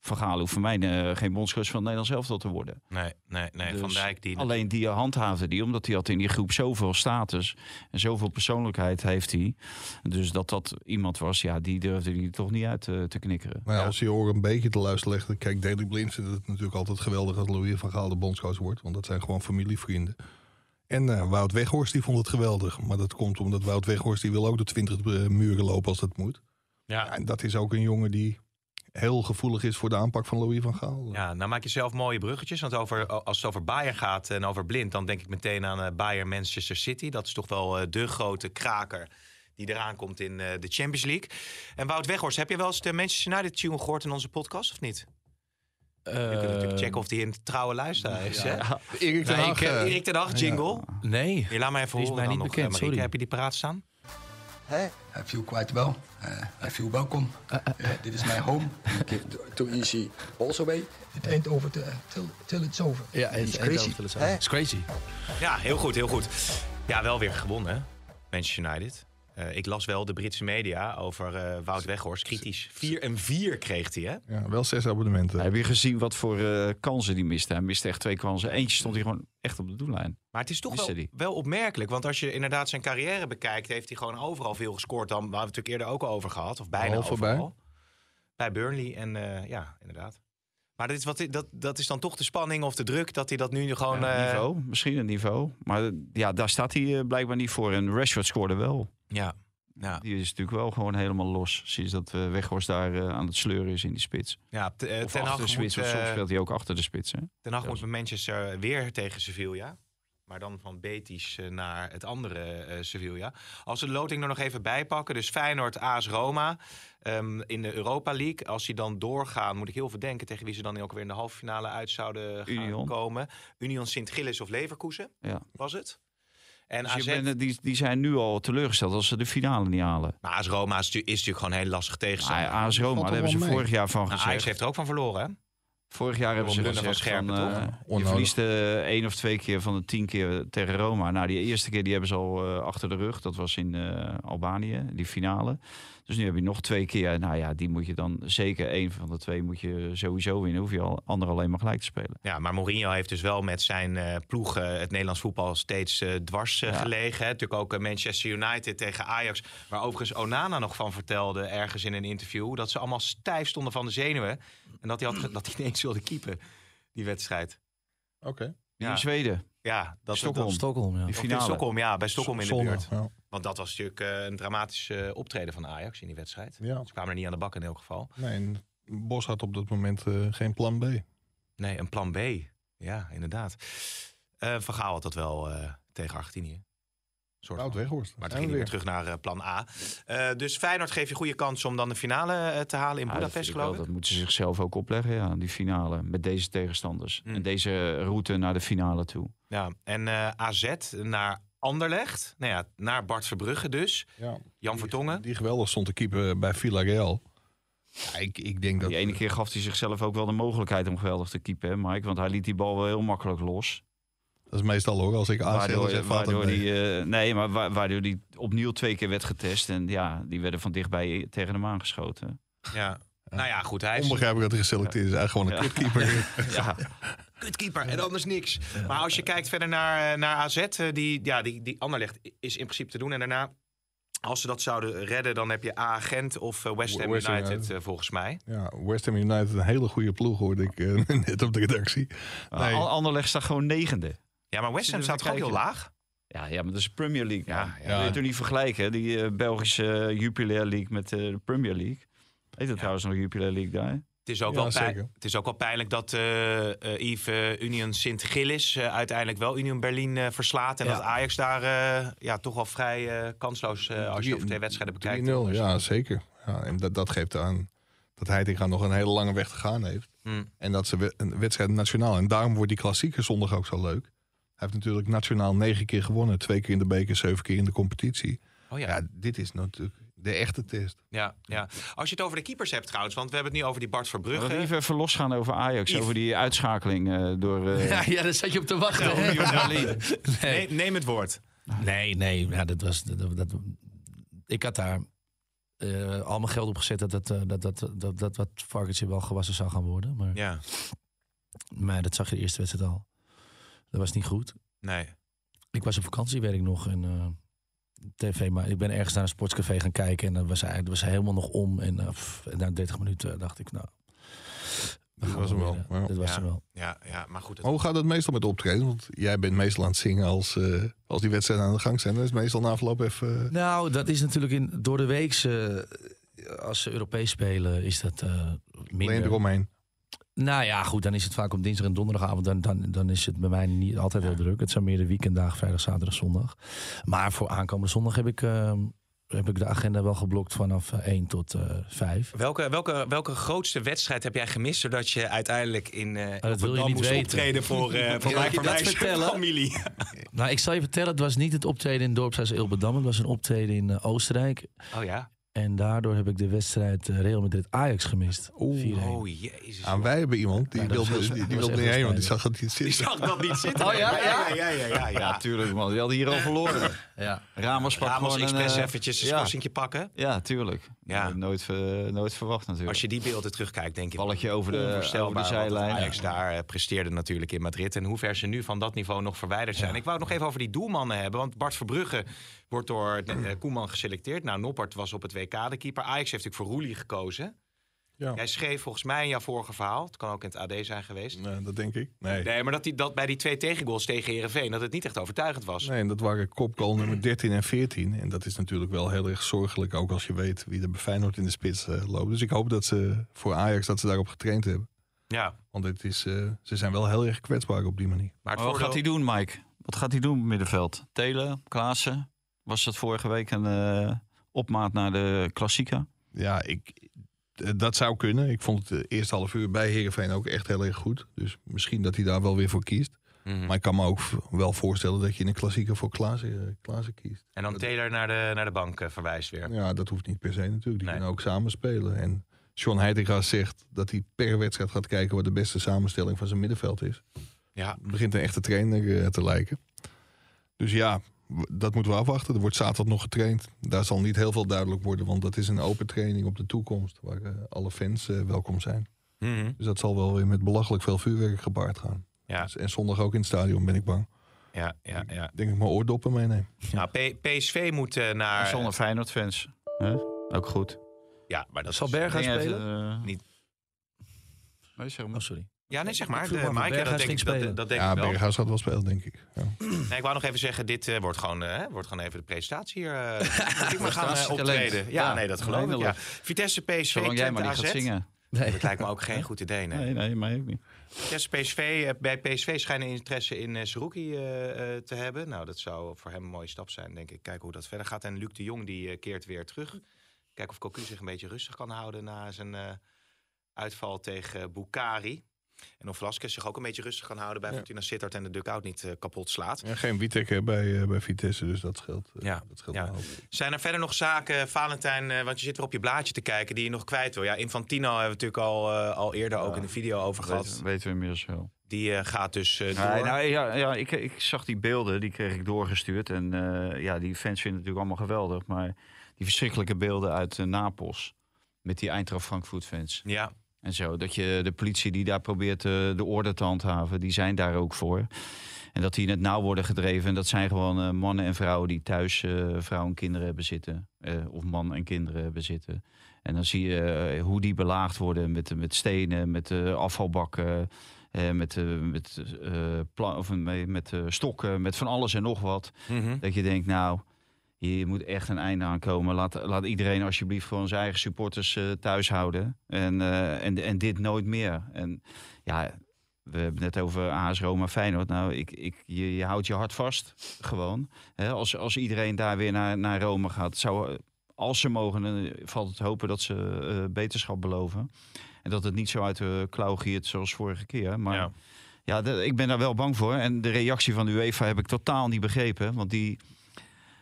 S6: Van Gaal hoeft voor mij eh, geen bondscoach van Nederland zelf te worden.
S3: Nee, nee, nee. Van
S6: Dus
S3: Dijk die...
S6: Alleen die handhaafde die, omdat hij had in die groep zoveel status en zoveel persoonlijkheid heeft hij. Dus dat dat iemand was, ja, die durfde hij toch niet uit eh, te knikkeren.
S4: Maar ja, als je oor een beetje te luisteren legt, kijk, Daily Blind vindt het natuurlijk altijd geweldig als Louis van Gaal de bondscoach wordt. Want dat zijn gewoon familievrienden. En eh, Wout Weghorst, die vond het geweldig. Maar dat komt omdat Wout Weghorst, die wil ook de 20 eh, muren lopen als dat moet. Ja,
S3: Ja.
S4: en dat is ook een jongen die heel gevoelig is voor de aanpak van Louis van Gaal.
S3: ja, nou maak je zelf mooie bruggetjes. Want over, als het over Bayern gaat en over Blind... dan denk ik meteen aan eh, Bayern Manchester City. Dat is toch wel eh, de grote kraker die eraan komt in eh, de Champions League. En Wout Weghorst, heb je wel eens de Manchester United tune gehoord in onze podcast of niet? Je kunt
S6: Eh,
S3: natuurlijk checken of die een trouwe luisteraar is. hè?
S4: Erik ten
S3: Nou,
S4: Hag,
S3: ik, eh,
S4: eh,
S3: Erik ten Hag jingle.
S5: Nee.
S3: Je laat mij even
S5: Die is
S3: horen
S5: mij
S3: dan
S5: niet
S3: nog,
S5: bekend,
S3: eh, Marieke.
S5: sorry.
S3: Heb je die paraat staan?
S8: Hey, I feel quite well. Uh, I feel welcome. Uh, this is my home. Give to, to easy also way. It ain't over till, till, till it's over.
S5: Ja, het
S8: It's crazy. Hè?
S5: is crazy.
S3: Ja, heel goed, heel goed. Ja, wel weer gewonnen, hè? Manchester United. Eh, ik las wel de Britse media over eh, Wout Weghorst. Kritisch. 4 en 4 kreeg hij, hè?
S4: ja, wel zes abonnementen.
S6: Heb je gezien wat voor eh, kansen die miste? Hij miste echt twee kansen. Eentje stond hij gewoon echt op de doellijn.
S3: Maar het is toch
S6: Miste
S3: wel,
S6: die.
S3: wel opmerkelijk. Want als je inderdaad zijn carrière bekijkt, heeft hij gewoon overal veel gescoord. Dan, waar we het natuurlijk eerder ook al over gehad. Of bijna
S4: Behalve bij?
S3: overal. Bij Burnley. En eh, ja, inderdaad. Maar dat is, wat, dat, dat is dan toch de spanning of de druk dat hij dat nu gewoon...
S6: Ja,
S3: eh,
S6: niveau, misschien een niveau. Maar eh, ja, daar staat hij eh, blijkbaar niet voor. En Rashford scoorde wel.
S3: ja. Ja.
S6: Die is natuurlijk wel gewoon helemaal los. Sinds dat eh, Weghorst daar eh, aan het sleuren is in die spits.
S3: Ja, t- eh,
S6: Of
S3: Ten Hag
S6: achter de
S3: moet,
S6: spits. want soms
S3: eh,
S6: speelt hij ook achter de spits. Hè?
S3: Ten Hag moet bij Manchester eh, weer tegen Sevilla. Maar dan van Betis eh, naar het andere eh, Sevilla. Als we de loting er nog even bij pakken. Dus Feyenoord, AS Roma ehm, in de Europa League. Als die dan doorgaan, moet ik heel veel denken... tegen wie ze dan ook weer in de halve finale uit zouden gaan
S6: Union.
S3: komen. Union Sint-Gilles of Leverkusen
S6: Ja.
S3: was het. En
S6: Dus
S3: AZ...
S6: je bent- die, die zijn nu al teleurgesteld als ze de finale niet halen. Ah,
S3: Maar AS Roma is, tu- is natuurlijk gewoon een heel lastig tegenstander.
S6: Maar AS Roma,
S4: Valt
S6: daar
S4: er
S6: hebben ze
S4: wel mee.
S6: vorig jaar van
S3: Nou, Ajax
S6: Nou gezegd.
S3: heeft er ook van verloren, hè?
S6: Vorig jaar hebben ze
S3: Waarom
S6: gezegd
S3: Brunnen van
S6: van,
S3: Scherpen,
S6: eh,
S3: toch?
S6: je
S4: Onnodig.
S6: verliest eh één of twee keer van de tien keer tegen Roma. Nou, die eerste keer die hebben ze al eh, achter de rug. Dat was in eh, Albanië, die finale. Dus nu heb je nog twee keer. Nou ja, die moet je dan zeker één van de twee moet je sowieso winnen. Hoef je al ander alleen maar gelijk te spelen.
S3: Ja, maar Mourinho heeft dus wel met zijn eh, ploeg eh, het Nederlands voetbal steeds eh, dwars eh,
S6: Ja.
S3: gelegen. Hè. Natuurlijk ook eh, Manchester United tegen Ajax. Waar overigens Onana nog van vertelde ergens in een interview. Dat ze allemaal stijf stonden van de zenuwen. En dat hij, had, ge- dat hij ineens wilde keepen, die wedstrijd.
S4: Oké.
S6: Die
S3: Ja.
S6: in Zweden,
S3: Ja, dat
S6: Stockholm.
S3: dat-
S5: Stockholm, ja.
S6: die
S3: Of in
S6: finale.
S3: Stockholm, ja, bij Stockholm in de
S4: Zonde,
S3: buurt.
S4: Ja.
S3: Want dat was natuurlijk eh, een dramatische eh, optreden van Ajax in die wedstrijd.
S4: Ja.
S3: Ze kwamen er niet aan de bak in elk geval.
S4: Nee, en Bos had op dat moment eh, geen plan B.
S3: Nee, een plan B. Ja, inderdaad. Eh van Gaal had dat wel eh, tegen Argentinië. Een soort
S4: Wout
S3: van.
S4: Weghorst.
S3: Oh. Maar
S4: En
S3: toen ging hij weer terug naar eh, plan A. Eh, dus Feyenoord geeft je goede kans om dan de finale eh, te halen in
S6: Ja, dat, vind
S3: Budapest,
S6: ik wel.
S3: geloof ik.
S6: dat moeten ze zichzelf ook opleggen, ja, die finale. Met deze tegenstanders.
S3: Hmm.
S6: En deze route naar de finale toe.
S3: Ja. En eh, AZ naar Anderlecht. Nou ja, naar Bart Verbrugge dus.
S4: Ja.
S3: Jan Vertongen.
S4: Die geweldig stond te keeper eh, bij Villarreal. Ja, ik, ik denk dat... eh,
S6: Die ene keer gaf hij zichzelf ook wel de mogelijkheid om geweldig te keepen, hè, Mike. Want hij liet die bal wel heel makkelijk los.
S4: Dat is meestal hoor, als ik aanstel,
S6: Waardoor,
S4: zeg vader
S6: waardoor
S4: nee.
S6: die, eh, nee, maar wa- waardoor die opnieuw twee keer werd getest. En ja, die werden van dichtbij tegen hem aangeschoten.
S3: Ja. Nou ja, goed. Hij is
S4: Onbegrijpelijk dat hij geselecteerd is. Hij is gewoon een
S6: Ja.
S4: kutkeeper.
S6: Ja,
S3: kutkeeper en anders niks. Maar als je kijkt verder naar, eh, naar AZ, eh, die, ja, die, die Anderlecht is in principe te doen. En daarna, als ze dat zouden redden, dan heb je A-Gent of eh, West Ham
S4: West Ham,
S3: United,
S4: ja.
S3: eh, volgens mij.
S4: Ja, West Ham United, een hele goede ploeg hoorde ik eh, net op de redactie.
S3: Ah,
S6: Maar
S4: Nee.
S6: An- Anderlecht staat gewoon negende. Dus
S3: Ja, maar West Ham staat gewoon heel laag.
S6: Ja, ja, maar dat is Premier League.
S3: Ja,
S6: Ja,
S3: ja.
S6: ja. Wil je toch niet vergelijken, hè? die eh, Belgische Jupiler League met eh, de Premier League. Heet het trouwens nog Jupiler League daar? hè?
S3: Het is, ook
S4: Ja,
S3: wel pijn-
S4: zeker.
S3: het is ook wel pijnlijk dat eh, eh, Yves eh, Union Sint-Gillis eh, uiteindelijk wel Union Berlin eh, verslaat. En
S4: Ja.
S3: dat Ajax daar eh, ja, toch wel vrij eh, kansloos, eh, als je
S4: Drie-
S3: het over twee wedstrijden bekijkt.
S4: 3-0, ja zeker. Ja, en dat, dat geeft aan dat Heitinga nog een hele lange weg te gaan heeft.
S3: Hmm.
S4: En dat ze we- een wedstrijd nationaal. En daarom wordt die klassieker zondag ook zo leuk. Hij heeft natuurlijk nationaal negen keer gewonnen. Twee keer in de beker, zeven keer in de competitie.
S3: Oh ja.
S4: Ja, dit is natuurlijk de echte test.
S3: Ja, ja. Als je het over de keepers hebt trouwens, want we hebben het nu over die Bart
S6: Laten we
S3: Verbrugge.
S6: even even losgaan over Ajax,
S3: Yves.
S6: over die uitschakeling eh, door... eh,
S5: Ja, ja, daar zat je op te wachten. hè?
S3: Nee, neem het woord.
S5: Nee, nee, ja, dat was. Dat, dat- ik had daar eh, al mijn geld opgezet dat dat, eh, dat, dat, dat, dat, dat varkentje wel gewassen zou gaan worden. Maar,
S3: Ja,
S5: maar dat zag je de eerste wedstrijd al. Dat was niet goed.
S3: nee.
S5: Ik was op vakantiewerk nog en eh, tv, maar ik ben ergens naar een sportscafé gaan kijken en dat was, hij- dat was hij helemaal nog om. En eh, pff, en na 30 minuten dacht ik, nou,
S4: Dat was hem wel. ja.
S5: eh, dat was
S3: Ja.
S5: hem wel.
S3: Ja, ja, maar goed. het-
S4: Maar hoe gaat het meestal met optreden? Want jij bent meestal aan het zingen als, eh, als die wedstrijden aan de gang zijn. Dan is het meestal na afloop even... eh,
S5: Nou, dat is natuurlijk in, door de week, als ze Europees spelen, is dat eh
S4: alleen
S5: minder.
S4: eromheen.
S5: Nou ja, goed, dan is het vaak op dinsdag en donderdagavond. Dan, dan, dan is het bij mij niet altijd heel druk. Het zijn meer de weekenddagen, vrijdag, zaterdag, zondag. Maar voor aankomende zondag heb ik, eh, heb ik de agenda wel geblokt vanaf eh, 1 tot eh 5.
S3: Welke, welke, welke grootste wedstrijd heb jij gemist, zodat je uiteindelijk in eh op het
S5: wil je
S3: Dam
S5: niet
S3: moest
S5: weten.
S3: optreden voor, eh voor
S5: Wil
S3: Mike
S5: je
S3: van
S5: dat
S3: Wijs en
S5: vertellen?
S3: familie?
S5: Nou, ik zal je vertellen, het was niet het optreden in Dorpshuis Ilbedam. Het was een optreden in eh, Oostenrijk.
S3: Oh ja?
S5: En daardoor heb ik de wedstrijd eh, Real Madrid-Ajax gemist. 4-1.
S3: Oh jezus.
S4: Aan Ah, wij hebben iemand, die
S5: Ja, dat
S4: wilde,
S5: was-
S4: die,
S5: dat
S4: die
S5: was
S4: wilde
S5: echt
S4: niet heen, want
S5: een
S4: die zag dat niet
S3: Ik
S4: zitten.
S3: zag dat niet zitten.
S5: Oh, ja, ja?
S3: ja, ja, ja, ja.
S6: Ja, tuurlijk man. Die hadden hier al verloren.
S5: Ja.
S6: Ramos pak
S3: Ramos
S6: gewoon een,
S3: Express
S6: eh,
S3: eventjes een
S6: ja.
S3: schorsingje pakken.
S6: Ja, tuurlijk.
S3: Ja.
S6: Ja. Nooit, ver- nooit verwacht natuurlijk.
S3: Als je die beelden terugkijkt, denk ik...
S6: Balletje over de-
S3: onvoorstelbaar
S6: over de
S3: wat
S6: zijlijn.
S3: Ajax daar eh, presteerde natuurlijk in Madrid. En hoe ver ze nu van dat niveau nog verwijderd zijn. Ik wou het nog even over die doelmannen hebben. Want Bart Verbrugge wordt door eh, Koeman geselecteerd. Nou, Noppert was op het WK de keeper. Ajax heeft natuurlijk voor Roelie gekozen.
S4: Ja.
S3: Jij schreef volgens mij in jouw vorige verhaal... het kan ook in het AD zijn geweest...
S4: Nee, dat denk ik. Nee.
S3: Nee, maar dat, die, dat bij die twee tegengoals tegen Herenveen dat het niet echt overtuigend was.
S4: nee, en dat waren kopgoal nummer 13 en 14. En dat is natuurlijk wel heel erg zorgelijk, ook als je weet wie er bij Feyenoord in de spits eh, loopt. Dus ik hoop dat ze voor Ajax dat ze daarop getraind hebben.
S3: Ja,
S4: Want het is, eh, ze zijn wel heel erg kwetsbaar op die manier.
S3: maar het
S6: Maar wat
S3: voordeel-
S6: gaat hij doen, Mike? Wat gaat hij doen op middenveld? Telen, Klaassen? Was dat vorige week een eh, opmaat naar de Klassica?
S4: Ja, ik, eh, dat zou kunnen. Ik vond het eh, eerste half uur bij Heerenveen ook echt heel erg goed. Dus misschien dat hij daar wel weer voor kiest.
S3: Mhm.
S4: Maar ik kan me ook v- wel voorstellen dat je in een klassieker voor Klaassen, eh, Klaassen kiest.
S3: En dan Taylor naar de, naar de bank eh, verwijst weer.
S4: Ja, dat hoeft niet per se natuurlijk. Die
S3: Nee.
S4: kunnen ook samen spelen. En John Heitinga zegt dat hij per wedstrijd gaat kijken wat de beste samenstelling van zijn middenveld is.
S3: Ja.
S4: Het begint een echte trainer eh, te lijken. Dus ja, w- dat moeten we afwachten. Er wordt zaterdag nog getraind. Daar zal niet heel veel duidelijk worden, want dat is een open training op de toekomst. Waar eh, alle fans eh, welkom zijn.
S3: Mhm.
S4: Dus dat zal wel weer met belachelijk veel vuurwerk gepaard gaan.
S3: Ja,
S4: Dus- En zondag ook in het stadion ben ik bang.
S3: ja, ja, ja.
S4: Ik denk dat ik mijn oordoppen meeneem.
S3: Nou, P- PSV moet eh, naar...
S6: Zonder Feyenoord-fans. Hè? Ook goed.
S3: Ja, maar dat
S5: Zal
S3: is-
S5: Berghuis
S6: Dingen
S5: spelen?
S6: heeft, eh,
S3: Niet.
S6: Nee, zeg
S5: Oh,
S6: maar.
S5: sorry.
S3: Ja, nee, zeg
S5: Ik
S3: maar.
S5: vroeg me
S3: De,
S5: af of
S3: Mike, ja, dat
S5: Berghuis
S3: denk,
S5: ging
S3: ik, dat,
S5: spelen.
S3: dat denk
S4: Ja,
S3: ik wel.
S4: Berghuis gaat wel spelen, denk ik. Ja.
S3: Nee, ik wou nog even zeggen, dit eh, wordt, gewoon, eh, wordt gewoon even de presentatie hier. eh, Kijk, we gaan eh,
S6: Prestatietalent.
S3: optreden. Ja,
S6: Ja,
S3: nee, dat geloof ik. Ja.
S6: eindelijk.
S3: Vitesse, PSV,
S6: Zolang jij maar niet
S3: Twente,
S6: gaat
S3: AZ.
S6: zingen.
S5: Nee.
S3: Dat lijkt me ook geen goed idee, nee.
S6: Nee, nee, mij ook niet.
S3: Vitesse, PSV, eh, bij PSV schijnen interesse in eh Saruki eh, eh, te hebben. Nou, dat zou voor hem een mooie stap zijn, denk ik. Kijken hoe dat verder gaat. En Luc de Jong die eh, keert weer terug. Kijken of Cocu zich een beetje rustig kan houden na zijn eh, uitval tegen Boukari. En of Velasquez zich ook een beetje rustig kan houden bij
S4: Ja.
S3: Fortuna Sittard en de dugout niet eh, kapot slaat.
S4: Ja, geen Witek hè, bij, eh, bij Vitesse, dus dat scheelt. eh,
S3: Ja,
S4: dat scheelt
S3: ja.
S4: een hoop.
S3: Zijn er verder nog zaken, Valentijn, eh, want je zit weer op je blaadje te kijken, die je nog kwijt wil? Ja, Infantino hebben we natuurlijk al, eh, al eerder ook in de video over
S6: Dat
S3: gehad.
S6: weten, weten we inmiddels wel.
S3: Die eh, gaat dus eh, door.
S6: Nee, nou, ja, ja ik, ik zag die beelden, die kreeg ik doorgestuurd. En eh, ja, die fans vinden het natuurlijk allemaal geweldig. Maar die verschrikkelijke beelden uit eh, Napels. Met die Eintracht Frankfurt fans.
S3: Ja,
S6: En zo, dat je de politie die daar probeert eh, de orde te handhaven, die zijn daar ook voor. En dat die in het nauw worden gedreven. En dat zijn gewoon eh, mannen en vrouwen die thuis eh, vrouwen en kinderen hebben zitten. Eh, of man en kinderen hebben zitten. En dan zie je eh, hoe die belaagd worden met, met stenen, met eh, afvalbakken. eh, met eh, met, eh, pla- of met, met eh, stokken, met van alles en nog wat.
S3: Mhm.
S6: Dat je denkt, nou, hier moet echt een einde aan komen. Laat, laat iedereen alsjeblieft gewoon zijn eigen supporters eh, thuis houden. En, eh, en, en dit nooit meer. En ja, we hebben het net over AS Roma Feyenoord. Nou, ik, ik, je, je houdt je hart vast gewoon. Hè, als, als iedereen daar weer naar, naar Rome gaat, zou, als ze mogen, dan valt het hopen dat ze eh, beterschap beloven. En dat het niet zo uit de klauw giert zoals vorige keer. Maar
S3: Ja.
S6: ja, de- ik ben daar wel bang voor. En de reactie van de UEFA heb ik totaal niet begrepen. Want die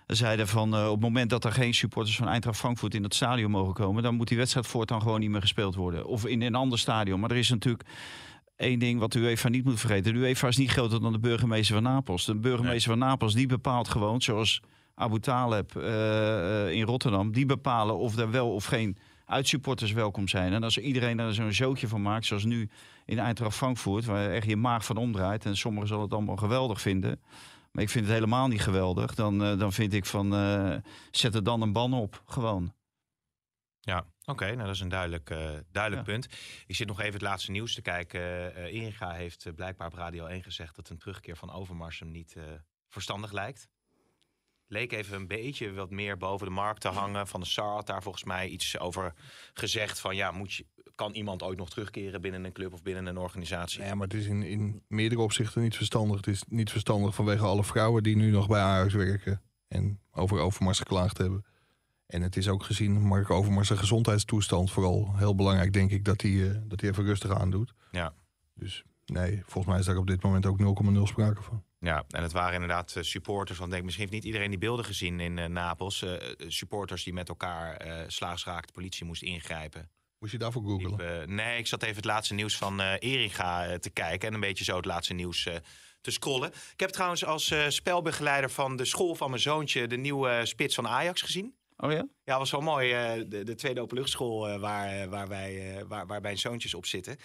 S6: zeiden van eh, op het moment dat er geen supporters van Eintracht Frankfurt in dat stadion mogen komen, dan moet die wedstrijd voortaan gewoon niet meer gespeeld worden. Of in een ander stadion. Maar er is natuurlijk één ding wat de UEFA niet moet vergeten. De UEFA is niet groter dan de burgemeester van Napels. De burgemeester van Napels die bepaalt gewoon, zoals Abu Taleb eh, eh, in Rotterdam. Die bepalen of er wel of geen uitsupporters welkom zijn. En als iedereen daar zo'n zootje van maakt, zoals nu in Eintracht Frankfurt... waar je echt je maag van omdraait... en sommigen zullen het allemaal geweldig vinden... maar ik vind het helemaal niet geweldig... dan, eh, dan vind ik van... eh, zet er dan een ban op, gewoon.
S3: Ja, oké. nou, dat is een duidelijk, eh, duidelijk
S6: Ja.
S3: punt. Ik zit nog even het laatste nieuws te kijken. Eh, eh, Inga heeft eh, blijkbaar op Radio 1 gezegd dat een terugkeer van Overmars hem niet eh, verstandig lijkt. Leek even een beetje wat meer boven de markt te hangen. Van de SAR had daar volgens mij iets over gezegd. Van ja, moet je, kan iemand ooit nog terugkeren binnen een club of binnen een organisatie?
S4: Ja, maar het is in, in meerdere opzichten niet verstandig. Het is niet verstandig vanwege alle vrouwen die nu nog bij Ajax werken. En over Overmars geklaagd hebben. En het is ook gezien Mark Overmars zijn gezondheidstoestand vooral. Heel belangrijk denk ik dat hij, eh, dat hij even rustig aandoet.
S3: Ja.
S4: Dus nee, volgens mij is daar op dit moment ook 0,0 sprake van.
S3: Ja, en het waren inderdaad eh, supporters. Want ik denk, misschien heeft niet iedereen die beelden gezien in eh, Napels. Eh, eh, supporters die met elkaar eh slaagsraakt, de politie moest ingrijpen.
S4: Moest je daarvoor googlen?
S3: Liep, eh, nee, ik zat even het laatste nieuws van eh Erika eh, te kijken. En een beetje zo het laatste nieuws eh, te scrollen. Ik heb trouwens als eh, spelbegeleider van de school van mijn zoontje... de nieuwe eh, spits van Ajax gezien.
S6: Oh ja?
S3: Ja, was wel mooi. eh, de, de tweede openluchtschool eh, waar, eh, waar, wij, eh, waar, waar mijn zoontjes op zitten.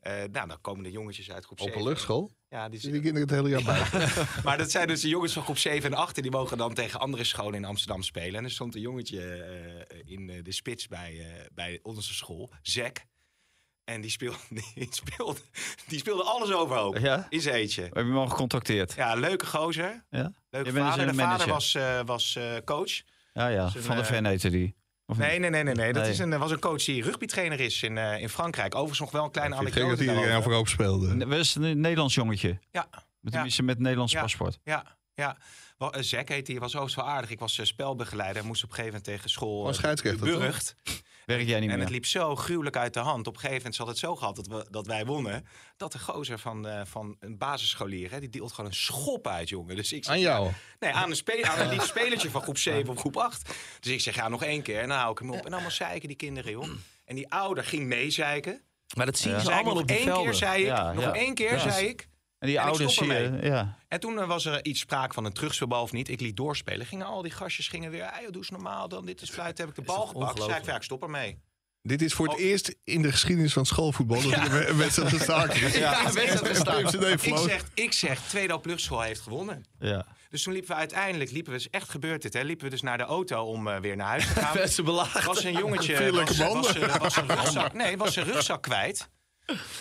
S3: Eh, nou, dan komen de jongetjes uit groep 7.
S4: Openluchtschool?
S3: eh, Ja, die
S4: Zitten
S3: zitten-
S4: die kinderen het hele jaar bij?
S3: maar dat zijn dus de jongens van groep 7 en 8. En die mogen dan tegen andere scholen in Amsterdam spelen. En er stond een jongetje eh, in eh, de spits bij, eh, bij onze school, Zack. En die speelde, die speelde, die speelde alles overhoop
S6: Ja?
S3: in zijn eentje.
S6: Heb je hem al gecontacteerd?
S3: Ja, leuke gozer.
S6: Ja?
S3: Leuke
S6: Je bent dus
S3: vader.
S6: een
S3: De vader
S6: manager.
S3: was, eh, was eh, coach.
S6: Ja, ja.
S3: een,
S6: Van de
S3: eh,
S6: Ven heette die. Of
S3: Nee, nee, nee, nee. nee. Dat
S6: Nee.
S3: Is een, eh, was een coach die rugbytrainer is in, eh, in Frankrijk. Overigens nog wel een kleine
S4: Ik denk dat
S3: anekdote
S4: iedereen
S3: daarover.
S4: overhoop speelde.
S6: niet? We is een Nederlands jongetje.
S3: Ja,
S6: Met- Tenminste, met Nederlands
S3: Ja.
S6: paspoort.
S3: ja, ja. Wa- eh, Zack heet die, was oost wel aardig. Ik was eh, spelbegeleider, moest op een gegeven moment tegen school...
S4: Gewoon
S3: eh,
S4: scheidsrechter, toch?
S3: Burgt.
S6: Werk jij niet
S3: En
S6: meer?
S3: het liep zo gruwelijk uit de hand. Op een gegeven moment had het zo gehad dat, we, dat wij wonnen. Dat de gozer van, eh, van een basisscholier, hè, die deelt gewoon een schop uit, jongen. Dus ik zeg,
S4: Aan jou.
S3: Nee, aan een, spe- aan een lief spelertje van groep 7 of groep 8. Dus ik zeg, ja, nog één keer. En dan hou ik hem op. En allemaal zeiken die kinderen, joh. En die ouder ging meezeiken.
S5: Maar dat zien
S3: Zei
S5: ze
S3: ik
S5: allemaal
S3: nog
S5: op die
S3: één
S5: velden.
S3: keer, zei ik.
S6: Ja,
S3: nog
S6: ja.
S3: één keer,
S6: Ja.
S3: zei ik.
S6: En die
S3: En ik
S6: ouders
S3: stop
S6: zie je.
S3: ermee.
S6: Ja.
S3: En toen eh, was er iets sprake van een terugspeelbal of niet. Ik liet doorspelen. Gingen al die gastjes gingen weer, "Hey, joh, doe eens normaal. Dan dit is fluit, heb ik de bal gepakt. Zei ik, ja, ik stop ermee.
S4: Dit is voor het
S3: Oh.
S4: eerst in de geschiedenis van schoolvoetbal dat er een wedstrijd gestaakt is.
S3: Ja, een wedstrijd gestaakt.
S4: PMCD
S3: Ik
S4: floot.
S3: zeg, ik zeg, tweede Pluschool heeft gewonnen.
S6: Ja.
S3: Dus toen liepen we uiteindelijk, liepen we, is echt gebeurd dit, hè, liepen we dus naar de auto om eh, weer naar huis te gaan.
S5: Werd ze belaagd.
S3: was een jongetje,
S4: Veel
S3: was,
S4: lekker
S3: was, was, was een rugzak, nee, was een rugzak kwijt.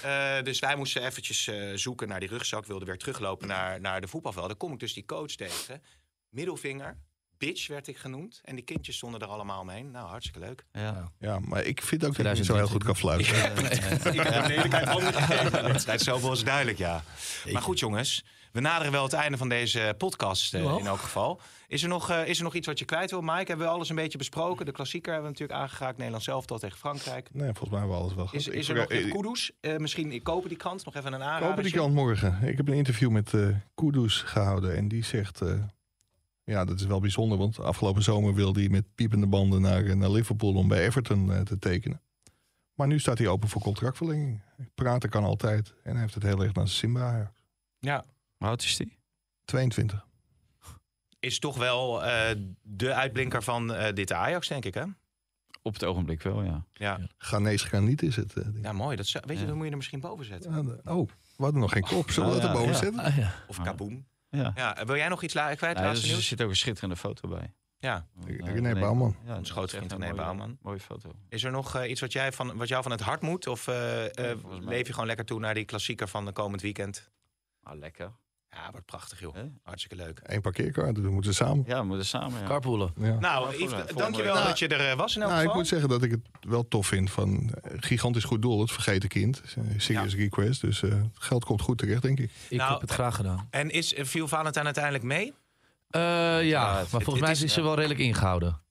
S3: Eh, dus wij moesten eventjes eh, zoeken naar die rugzak, wilden weer teruglopen naar, naar de voetbalveld. Daar kom ik dus die coach tegen. Middelvinger, bitch werd ik genoemd. En die kindjes stonden er allemaal omheen. Nou, hartstikke leuk.
S6: Ja.
S4: Ja, maar ik vind ook dat hij niet zo heel goed kan fluiten.
S3: Ik heb de lelijkheid handen gegeven aan de wedstrijd. Zoveel is duidelijk, ja. Maar goed, jongens. We naderen wel het einde van deze podcast eh, in elk geval. Is er, nog, eh, is er nog iets wat je kwijt wil, Mike? Hebben we alles een beetje besproken? De klassieker hebben we natuurlijk aangeraakt. Nederland zelf tot tegen Frankrijk.
S4: Nee, volgens mij hebben we alles wel gehad.
S3: Is,
S4: Ik
S3: is er nog
S4: verga-
S3: het
S4: ik-
S3: Kudus? Eh, misschien ik kopen die krant. Nog even een
S4: ik
S3: aanrader.
S4: hoop die kant morgen. Ik heb een interview met eh Kudus gehouden en die zegt... eh, ja, dat is wel bijzonder, want afgelopen zomer wilde hij met piepende banden naar, eh, naar Liverpool om bij Everton eh, te tekenen. Maar nu staat hij open voor contractverlenging. Praten kan altijd en hij heeft het heel erg naar zijn Simba.
S3: Ja.
S6: Hoe oud is die?
S4: 22.
S3: Is toch wel eh, de uitblinker van eh, dit Ajax, denk ik, hè?
S6: Op het ogenblik wel, ja.
S3: Ja,
S4: Ghanese Graniet is het. eh, denk ik.
S3: ja Nou, mooi. Dat, zou- weet je,
S6: Ja.
S3: dan moet je er misschien boven zetten.
S4: Ja, de- Oh, we hadden nog geen kop. Zullen we
S6: Oh,
S4: dat
S6: ja,
S4: erboven
S6: ja.
S4: zetten?
S5: Ah, ja.
S3: Of
S6: Ja.
S3: kaboom.
S6: Ja.
S3: Ja. eh, Wil jij nog iets la- kwijt?
S6: Nee,
S3: laatste
S6: dus er
S3: nieuws?
S6: zit ook een schitterende foto bij.
S3: Ja.
S6: Eh,
S4: René Bouwman.
S6: Ja, dat is
S3: grootste vriend
S6: echt een
S3: René
S6: mooie-
S3: Bouwman.
S6: Mooie foto.
S3: Is er nog eh, iets wat, jij van, wat jou van het hart moet? Of eh, eh,
S6: volgens mij.
S3: leef je gewoon lekker toe naar die klassieker van de komend weekend?
S6: Ah, lekker.
S3: Ja, wordt prachtig joh.
S6: Hè?
S3: Hartstikke leuk.
S4: Eén parkeerkaart, dat moeten dus we samen.
S6: Ja, we moeten samen. Ja.
S5: Carpoolen.
S4: Ja.
S3: Nou,
S6: volgende-
S3: Yves, d-
S6: volgende
S3: dankjewel
S6: week.
S3: dat je er eh, was in elk
S4: Nou, ik
S3: geval.
S4: moet zeggen dat ik het wel tof vind van eh, gigantisch goed doel, het vergeten kind. Eh, Serious request, dus eh, het geld komt goed terecht, denk ik.
S5: Ik
S3: Nou,
S5: heb het graag gedaan.
S3: En is, eh, viel Valentijn uiteindelijk mee?
S5: Eh, ja, maar
S3: het-
S5: volgens
S3: het
S5: mij
S3: is-
S5: is ze wel redelijk ingehouden.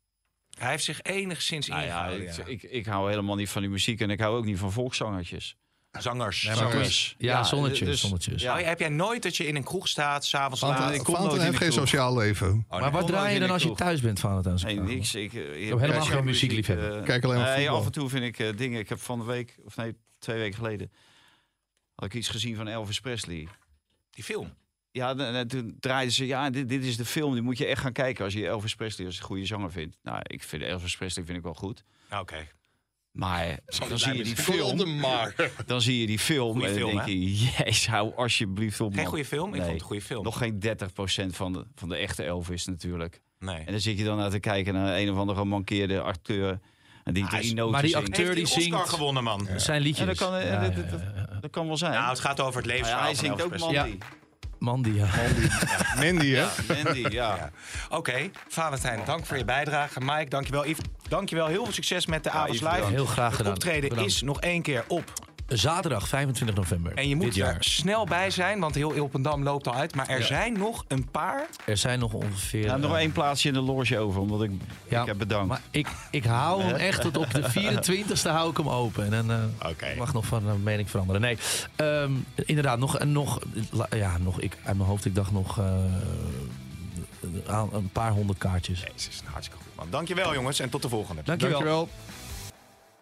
S3: Hij heeft zich enigszins
S6: Nou ja,
S3: ingehouden.
S6: ik,
S3: ja.
S6: Ik, ik hou helemaal niet van die muziek en ik hou ook niet van volkszangertjes.
S3: Zangers.
S4: maar-
S3: Zangers.
S6: Dus,
S5: Ja, zonnetjes,
S6: dus-
S5: zonnetjes.
S6: Ja.
S3: Oh, heb jij nooit dat je in een kroeg staat, s'avonds laat?
S4: Valentijn
S6: ik kom nooit
S4: Valentijn
S6: in
S4: heeft
S6: de
S4: geen
S6: kroeg.
S4: sociaal leven.
S3: Oh,
S5: maar
S3: nee.
S5: wat draai je dan
S6: in
S5: als
S6: de
S5: je thuis bent, Valentijn?
S6: Nee, niks. Ik, eh, ik
S5: helemaal
S6: kijk
S5: geen muziekliefhebber.
S6: eh,
S4: Kijk alleen maar
S6: nee,
S4: voetbal.
S6: af en toe vind ik eh, dingen. Ik heb van de week, of nee, twee weken geleden, had ik iets gezien van Elvis Presley.
S3: Die film.
S6: ja, en- en toen draaiden ze, ja, dit, dit is de film, die moet je echt gaan kijken als je Elvis Presley als een goede zanger vindt. Nou, ik vind Elvis Presley vind ik wel goed.
S3: Oké.
S6: Maar dan zie je die
S4: Wilde
S6: film,
S4: maar.
S6: dan zie je die film
S3: Goeie
S6: en dan
S3: film,
S6: denk
S3: hè?
S6: je, jezus, hou alsjeblieft op,
S3: Geen
S6: man.
S3: goede film? Ik vond het een goede film.
S6: Nog geen 30% van de, van de echte Elvis natuurlijk.
S3: Nee.
S6: En dan zit je dan naar te kijken naar een of andere gemankeerde acteur. En die drie noten
S5: maar die
S6: zingt.
S5: acteur-
S3: Heeft die
S5: Dirty
S3: Oscar
S5: zingt.
S3: gewonnen, man.
S5: Zijn liedjes.
S6: Ja, dat kan, eh,
S5: Ja,
S6: dat,
S5: ja,
S6: dat-
S5: ja.
S6: dat- dat kan wel zijn.
S3: Nou, het gaat over het
S6: Maar ja,
S3: levensverhaal
S6: hij
S3: van
S6: zingt
S3: Elvis
S6: ook
S3: Presley.
S6: Mandy.
S5: Mandy, ja.
S4: Mandy, hè?
S6: Mandy, ja.
S3: Oké, Valentijn, dank voor je bijdrage. Mike, dankjewel. Yves, dankjewel. Heel veel succes met de Avonds
S6: Yves,
S3: Live.
S6: bedankt.
S5: Heel graag
S3: Het
S5: gedaan.
S3: optreden
S5: Bedankt.
S3: is nog één keer op.
S5: Zaterdag 25 november.
S3: En je
S5: dit
S3: moet er
S5: jaar.
S3: snel bij zijn, want heel Ilpendam loopt al uit. Maar er zijn nog een paar.
S5: Er zijn nog ongeveer.
S6: Ik heb nog
S5: eh,
S6: één plaatsje in de loge over, omdat ik,
S5: ja,
S6: ik heb bedankt.
S5: Maar ik, ik hou hem echt tot op de 24e hou ik hem open. En dan eh,
S3: Oké.
S5: mag nog van eh, mening veranderen. Nee, ehm, inderdaad, nog, en nog, la- ja, nog ik, uit mijn hoofd, ik dacht nog eh, aan een paar honderd kaartjes.
S3: Jezus, nou, hartstikke goed, man. Dankjewel, jongens, en tot de volgende.
S5: Dankjewel.
S4: Dankjewel.